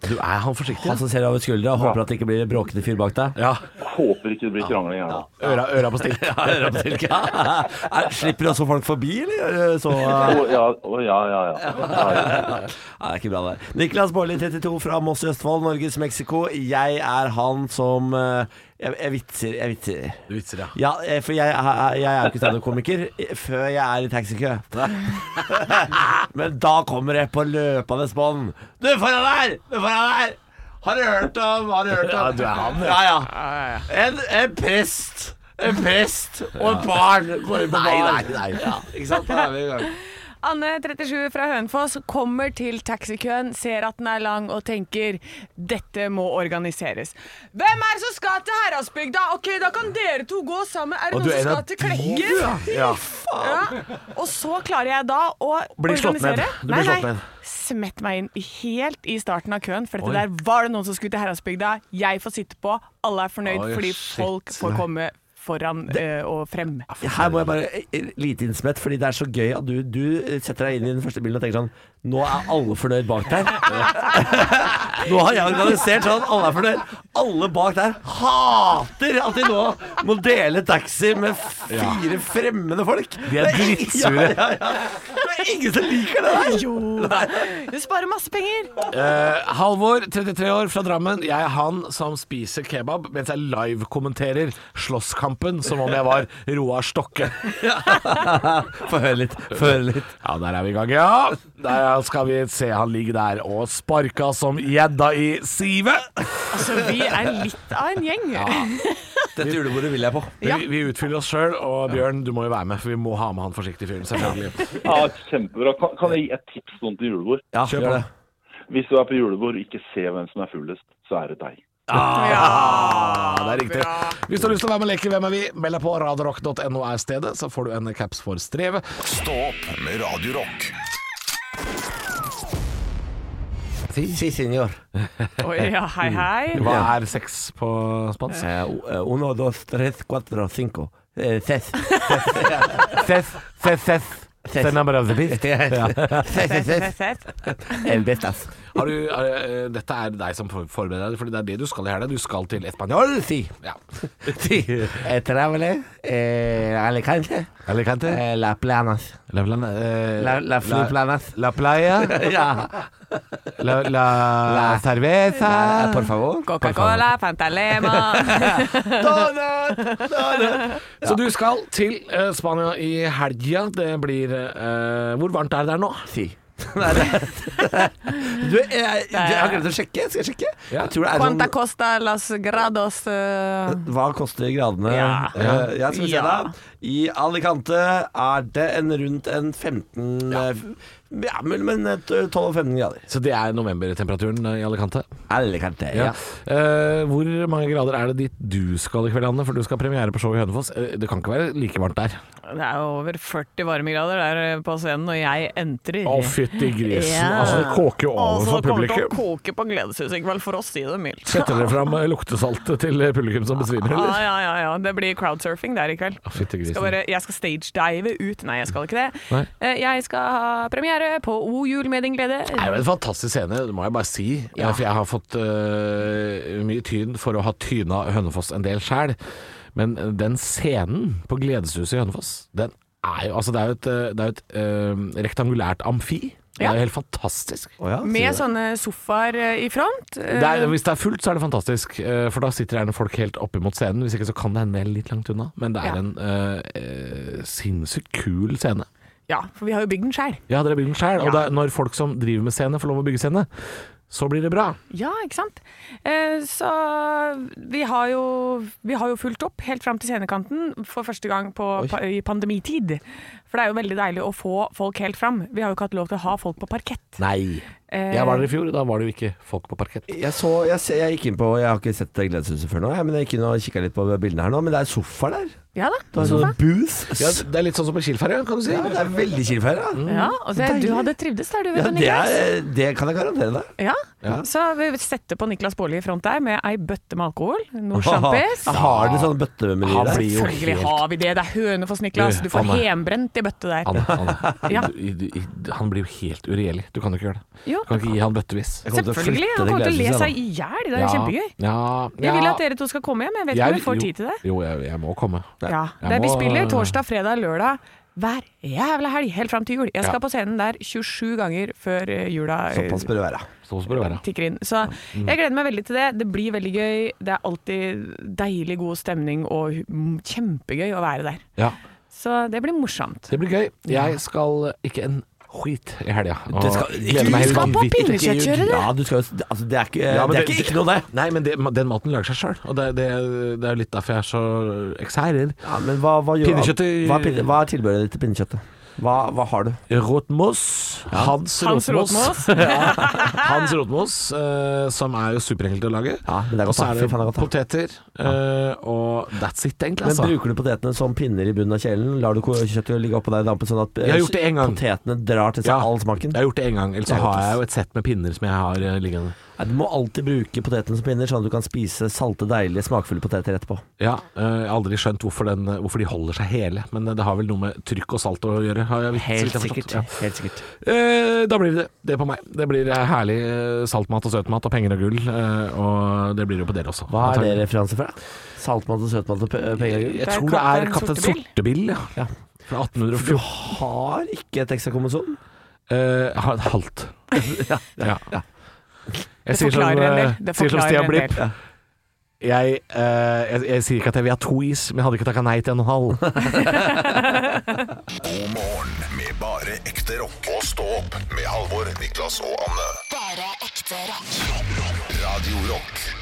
Speaker 4: Du er han forsiktig?
Speaker 3: Han som ser deg over skuldra og håper at det ikke blir en bråkende fyr bak deg. (laughs)
Speaker 4: Ja.
Speaker 9: Håper ikke det blir krangling her. da.
Speaker 4: Øra, øra på stilk.
Speaker 3: øra på (laughs) stilk. Er- Slipper også folk forbi, eller? eh, Så,
Speaker 4: (laughs)
Speaker 9: Å ja, å, ja, ja. ja.
Speaker 3: Nei, det er ikke bra det der. Niklas Baarli, 32, fra Moss i Østfold, Norges Mexico. Jeg er han som eh, Jeg, jeg vitser, jeg vitser.
Speaker 4: Du vitser, ja.
Speaker 3: Ja, eh, for jeg, er- jeg er jo ikke standup-komiker eh, før jeg er i taxikø. (laughs) Men da kommer jeg på løpende bånd. Du, foran der! Du, foran der! Har du hørt om Har du hørt om
Speaker 4: Ja, du er han,
Speaker 3: ja. ja. En, en prest. En prest og et barn går inn på
Speaker 4: Nei,
Speaker 3: barn.
Speaker 4: nei, nei.
Speaker 3: Ja, ikke sant? Da er vi i gang.
Speaker 5: Anne, 37, fra Hønefoss, kommer til taxikøen, ser at den er lang og tenker dette må organiseres. Hvem er det som skal til Heradsbygda? Ok, da kan dere to gå sammen. Er det
Speaker 4: Og
Speaker 5: noen
Speaker 4: du er
Speaker 5: som
Speaker 4: en av
Speaker 5: skal til Klekken?
Speaker 4: de, ja. Ja.
Speaker 5: Ja. Og så klarer jeg da å
Speaker 4: Blir slått ned.
Speaker 5: organisere.
Speaker 4: Du blir
Speaker 5: Nei,
Speaker 4: slått
Speaker 5: nei.
Speaker 4: ned.
Speaker 5: Smett meg inn helt i starten av køen, for dette
Speaker 4: Oi.
Speaker 5: der var det noen som skulle til Heradsbygda. Jeg får sitte på, alle er fornøyd
Speaker 4: Oi,
Speaker 5: fordi
Speaker 4: shit.
Speaker 5: folk får komme foran eh, og frem.
Speaker 4: (laughs)
Speaker 3: Her må jeg bare eh, lite innsmett, fordi det er så gøy at du, du eh, setter deg inn i den første bilen og tenker sånn Nå er alle fornøyd bak der. (laughs) Nå har jeg organisert sånn at alle er fornøyd. Alle bak der hater at de nå må dele taxi med fire fremmede folk. (laughs)
Speaker 4: De er
Speaker 3: Det ing-
Speaker 4: drittsure.
Speaker 3: Ja, ja, ja. Det er ingen som liker det der.
Speaker 5: Jo da. Du sparer masse penger.
Speaker 4: Eh, Halvor, 33 år, fra Drammen. Jeg er han som spiser kebab mens jeg live-kommenterer Slåsskampen som om jeg var Roar (laughs) Stokke.
Speaker 3: (laughs) Få høre litt. Få høre litt.
Speaker 4: Ja, der er vi i gang, ja. Der skal vi se han ligge der og sparka som gjedda i sivet.
Speaker 5: Altså, vi er litt av en gjeng.
Speaker 3: Dette julebordet vil jeg på.
Speaker 4: Vi, vi utfyller oss sjøl, og Bjørn, du må jo være med, for vi må ha med han forsiktige fyren, selvfølgelig.
Speaker 9: ja kjempebra. Kan, kan jeg gi et tips noen til julebord?
Speaker 3: Ja, gjør
Speaker 4: Kjør på.
Speaker 3: det.
Speaker 9: Hvis du er på julebord og ikke ser hvem som er fullest, så er det deg.
Speaker 4: Ja, Ah, det er riktig. Hvis du har lyst til å være med og leke Hvem er vi?, meld deg på radarock.no er stedet, så får du en caps for strevet.
Speaker 2: Stå opp med Radio Rock.
Speaker 3: Si, senor.
Speaker 5: Oi, ja, hei,
Speaker 4: Mm.
Speaker 5: hei.
Speaker 4: Hva er sex på spansk?
Speaker 3: Eh, eh, uno, dos, tres, cuatro, cinco. Eh, (laughs) ses. Ses. Ses. Ses.
Speaker 4: The number of the
Speaker 3: (laughs)
Speaker 4: beast.
Speaker 3: Ses, ses, ses.
Speaker 5: Sett.
Speaker 3: El bestas.
Speaker 4: Har du, er, eh, dette er deg som for- forbereder deg, for det er det du skal i helga. Du skal til Español.
Speaker 3: Sí.
Speaker 4: Ja.
Speaker 3: Sí. (laughs) Eh, Travelé. Eh, Alicante.
Speaker 4: Alicante.
Speaker 3: Eh, Las planas.
Speaker 4: La, la, eh,
Speaker 3: La- las planas. (laughs)
Speaker 4: la playa.
Speaker 3: Ja.
Speaker 4: La, (laughs) la,
Speaker 3: La-
Speaker 4: cerveza.
Speaker 3: Eh, Por favor.
Speaker 5: Coca-Cola,
Speaker 4: (laughs)
Speaker 5: Fantalema.
Speaker 4: Så du skal til eh, Spania i helga. Det blir eh, Hvor varmt er det der nå?
Speaker 3: (laughs) (laughs) Sí. Nei, det- du, eh, jeg, jeg, jeg har glemt å sjekke. Skal jeg sjekke?
Speaker 4: Ja.
Speaker 3: Jeg tror det er
Speaker 5: Quanta
Speaker 3: sånn
Speaker 5: costa las grados eh,
Speaker 3: hva koster gradene?
Speaker 5: Ja.
Speaker 3: Eh, ja, skal vi se
Speaker 5: Ja.
Speaker 3: da. I Alicante er det en rundt en 15 Ja, ja men, men et 12 og 15 grader.
Speaker 4: Så det er novembertemperaturen eh, i Alicante.
Speaker 3: Alicante, ja.
Speaker 4: Eh, hvor mange grader er det dit du skal i kveld, Anne? For du skal ha premiere på show i Hønefoss. Eh, det kan ikke være like varmt der.
Speaker 5: Det er over 40 varmegrader der eh, på scenen når jeg entrer.
Speaker 4: Å, fytti grisen.
Speaker 5: Ja.
Speaker 4: Altså, det kåker jo over
Speaker 5: Altså,
Speaker 4: for
Speaker 5: det kommer til å
Speaker 4: publikum.
Speaker 5: koke på gledeshuset i kveld, for å si det mildt.
Speaker 4: Setter dere fram eh, luktesaltet til eh, publikum som besvimer,
Speaker 5: Ja,
Speaker 4: eller?
Speaker 5: ja, ja, ja. Det blir crowdsurfing der i kveld.
Speaker 4: Å, Fytti grisen.
Speaker 5: Skal bare, jeg skal stagedive ut. Nei, jeg skal ikke det.
Speaker 4: Nei.
Speaker 5: Eh, Jeg skal ha premiere på O jul med din glede.
Speaker 4: Det er jo en fantastisk scene, det må jeg bare si.
Speaker 5: Ja.
Speaker 4: Eh, For jeg har fått eh, mye tyn for å ha tyna Hønefoss en del sjæl. Men eh, den scenen på Gledeshuset i Hønefoss, den er jo Altså, det er jo et, eh, det er jo et eh, rektangulært amfi. Det
Speaker 5: Ja.
Speaker 4: er jo helt fantastisk.
Speaker 3: Å ja, sier
Speaker 5: Med
Speaker 3: du.
Speaker 5: sånne sofaer eh, i front. Eh,
Speaker 4: Det er, hvis det er fullt, så er det fantastisk. eh, For da sitter gjerne folk helt opp imot scenen. Hvis ikke så kan det hende det er litt langt unna. Men det er
Speaker 5: Ja.
Speaker 4: en eh, eh, sinnssykt kul scene.
Speaker 5: Ja, for vi har jo bygd den sjøl.
Speaker 4: Ja, dere bygger den sjøl. Og
Speaker 5: Ja.
Speaker 4: det er når folk som driver med scene, får lov å bygge scene, så blir det bra.
Speaker 5: Ja, ikke sant? Eh, så vi har, jo, vi har jo fulgt opp helt fram til scenekanten for første gang på, pa, i pandemitid. For det er jo veldig deilig å få folk helt fram. Vi har jo ikke hatt lov til å ha folk på parkett.
Speaker 4: Nei.
Speaker 5: Eh,
Speaker 4: Jeg var der i fjor, da var det jo ikke folk på parkett.
Speaker 3: Jeg, så, jeg, se- jeg gikk inn på Jeg har ikke sett Gledeshuset før nå, jeg, men jeg gikk inn og kikka litt på bildene her nå. Men det er sofaer der.
Speaker 5: Ja da.
Speaker 3: Det er sånn booth.
Speaker 4: Ja, det er litt sånn som en Kiel-ferje, kan du si.
Speaker 3: Ja, det er veldig Kiel-ferie. da.
Speaker 5: Ja, og det, du hadde trivdes der, du vet
Speaker 3: Ja,
Speaker 5: du,
Speaker 3: det,
Speaker 5: Niklas.
Speaker 3: er, det kan jeg garantere deg.
Speaker 5: Ja.
Speaker 3: Ja.
Speaker 5: Så vi setter på Niklas Baarli i front der med ei bøtte med alkohol, noe sjampis.
Speaker 3: (laughs) Har dere sånne bøttemeny
Speaker 4: Han
Speaker 3: der?
Speaker 4: blir jo
Speaker 5: Selvfølgelig
Speaker 4: helt
Speaker 5: har vi det. Det er Hønefoss, Niklas.
Speaker 4: Du,
Speaker 5: Du får
Speaker 4: Anne.
Speaker 5: hjembrent i bøtte der.
Speaker 4: han, han,
Speaker 5: (laughs) Ja.
Speaker 4: i- i- i- han blir jo helt uregjerlig. Du kan jo ikke gjøre det.
Speaker 5: Jo,
Speaker 4: Du kan ikke gi han bøttevis.
Speaker 3: Jeg kommer til å
Speaker 5: Selvfølgelig.
Speaker 3: flytte
Speaker 5: Han
Speaker 3: det
Speaker 5: kommer til å le
Speaker 3: gledeshuset,
Speaker 5: seg i hjel. Det er jo kjempegøy.
Speaker 4: Ja,
Speaker 5: Jeg vil at dere to skal komme hjem. Jeg vet ikke om vi får tid til det.
Speaker 4: Jo, jeg, jeg må komme.
Speaker 5: Ja,
Speaker 4: Jeg
Speaker 5: det er, Vi
Speaker 4: må-
Speaker 5: spiller torsdag, fredag, lørdag hver jævla helg helt fram til jul. Jeg skal
Speaker 4: Ja.
Speaker 5: på scenen der 27 ganger før eh, jula eh,
Speaker 3: Såpass bør det være.
Speaker 4: Sånn skal det være.
Speaker 5: tikker inn. Så
Speaker 4: Mm.
Speaker 5: jeg gleder meg veldig til det. Det blir veldig gøy. Det er alltid deilig god stemning og hu- mm, kjempegøy å være der.
Speaker 4: Ja,
Speaker 5: Så det blir morsomt.
Speaker 4: det blir gøy. Jeg skal ikke en skit i helga. og
Speaker 3: Det skal-
Speaker 4: gleder meg
Speaker 5: Du
Speaker 4: helt
Speaker 5: skal på
Speaker 4: vanvittig.
Speaker 5: pinnekjøttkjøret, du!
Speaker 3: Ja, du skal jo Altså, det er ikke,
Speaker 4: Ja, men
Speaker 3: det er ikke, ikke noe der.
Speaker 4: Nei, men det, den maten lager seg sjøl. Og det, det, det er jo litt derfor jeg er så eh, eksærer.
Speaker 3: Ja, men hva, hva gjør
Speaker 4: Pinnekjøttet-
Speaker 3: Hva er, pinne- hva er tilbehøret ditt til pinnekjøttet? Hva, hva har du?
Speaker 4: Rotmos. Hans,
Speaker 5: Hans
Speaker 4: Rotmos. (laughs)
Speaker 5: Rotmos.
Speaker 4: Hans Rotmos, eh, som er jo superenkelt å lage.
Speaker 3: Ah. Ja, men det er
Speaker 4: Og
Speaker 3: godt,
Speaker 4: så
Speaker 3: da.
Speaker 4: er
Speaker 3: Fy faen, det er
Speaker 4: det
Speaker 3: godt, da.
Speaker 4: poteter. eh, og that's it, egentlig.
Speaker 3: Men
Speaker 4: Altså.
Speaker 3: Bruker du potetene som pinner i bunnen av kjelen? Lar du ko- kjøttet ligge oppå deg i dampen, sånn at eh,
Speaker 4: Jeg har gjort det en gang.
Speaker 3: potetene drar til seg
Speaker 4: Ja.
Speaker 3: all smaken?
Speaker 4: Jeg har gjort det én gang. Eller
Speaker 3: Det
Speaker 4: så
Speaker 3: er godt,
Speaker 4: har
Speaker 3: ass.
Speaker 4: jeg jo et sett med pinner som jeg har eh, liggende.
Speaker 3: Nei, du må alltid bruke potetene som pinner, sånn at du kan spise salte, deilige, smakfulle poteter etterpå.
Speaker 4: Ja, eh, jeg har aldri skjønt hvorfor, den, eh, hvorfor de holder seg hele, men eh, det har vel noe med trykk og salt å gjøre. Har jeg, så vidt jeg har forstått. Ja.
Speaker 3: Helt sikkert.
Speaker 4: Eh, da blir det det. det på meg. Det blir eh, herlig eh, saltmat og søtmat og penger og gull. eh, og det blir det jo på dere også.
Speaker 3: Hva er det
Speaker 4: Antagelig.
Speaker 3: referanse fra? Saltmat og søtmat og pe- eh, penger?
Speaker 4: Jeg,
Speaker 5: Det er
Speaker 4: tror det er
Speaker 5: Kaptein
Speaker 4: Kaptein Sortebil,
Speaker 5: Sortebil.
Speaker 4: ja.
Speaker 3: Ja.
Speaker 4: Fra
Speaker 3: Du
Speaker 4: 1814.
Speaker 3: har ikke et ekstra kommensjon?
Speaker 4: Eh, ha-
Speaker 5: (laughs)
Speaker 4: halvt. ja. Jeg
Speaker 5: Det
Speaker 4: sier som,
Speaker 5: forklarer en del.
Speaker 4: eh,
Speaker 5: Det
Speaker 4: sier som
Speaker 5: forklarer
Speaker 4: Stian
Speaker 5: en
Speaker 4: Blipp.
Speaker 5: del.
Speaker 4: Jeg, eh, jeg, jeg sier ikke at jeg vil ha to is, men jeg hadde ikke takka nei til en og en halv.
Speaker 2: God morgen med bare ekte rock. Og stå opp med Halvor, Niklas og Anne.
Speaker 1: Bare ekte rock.
Speaker 2: Radio Rock.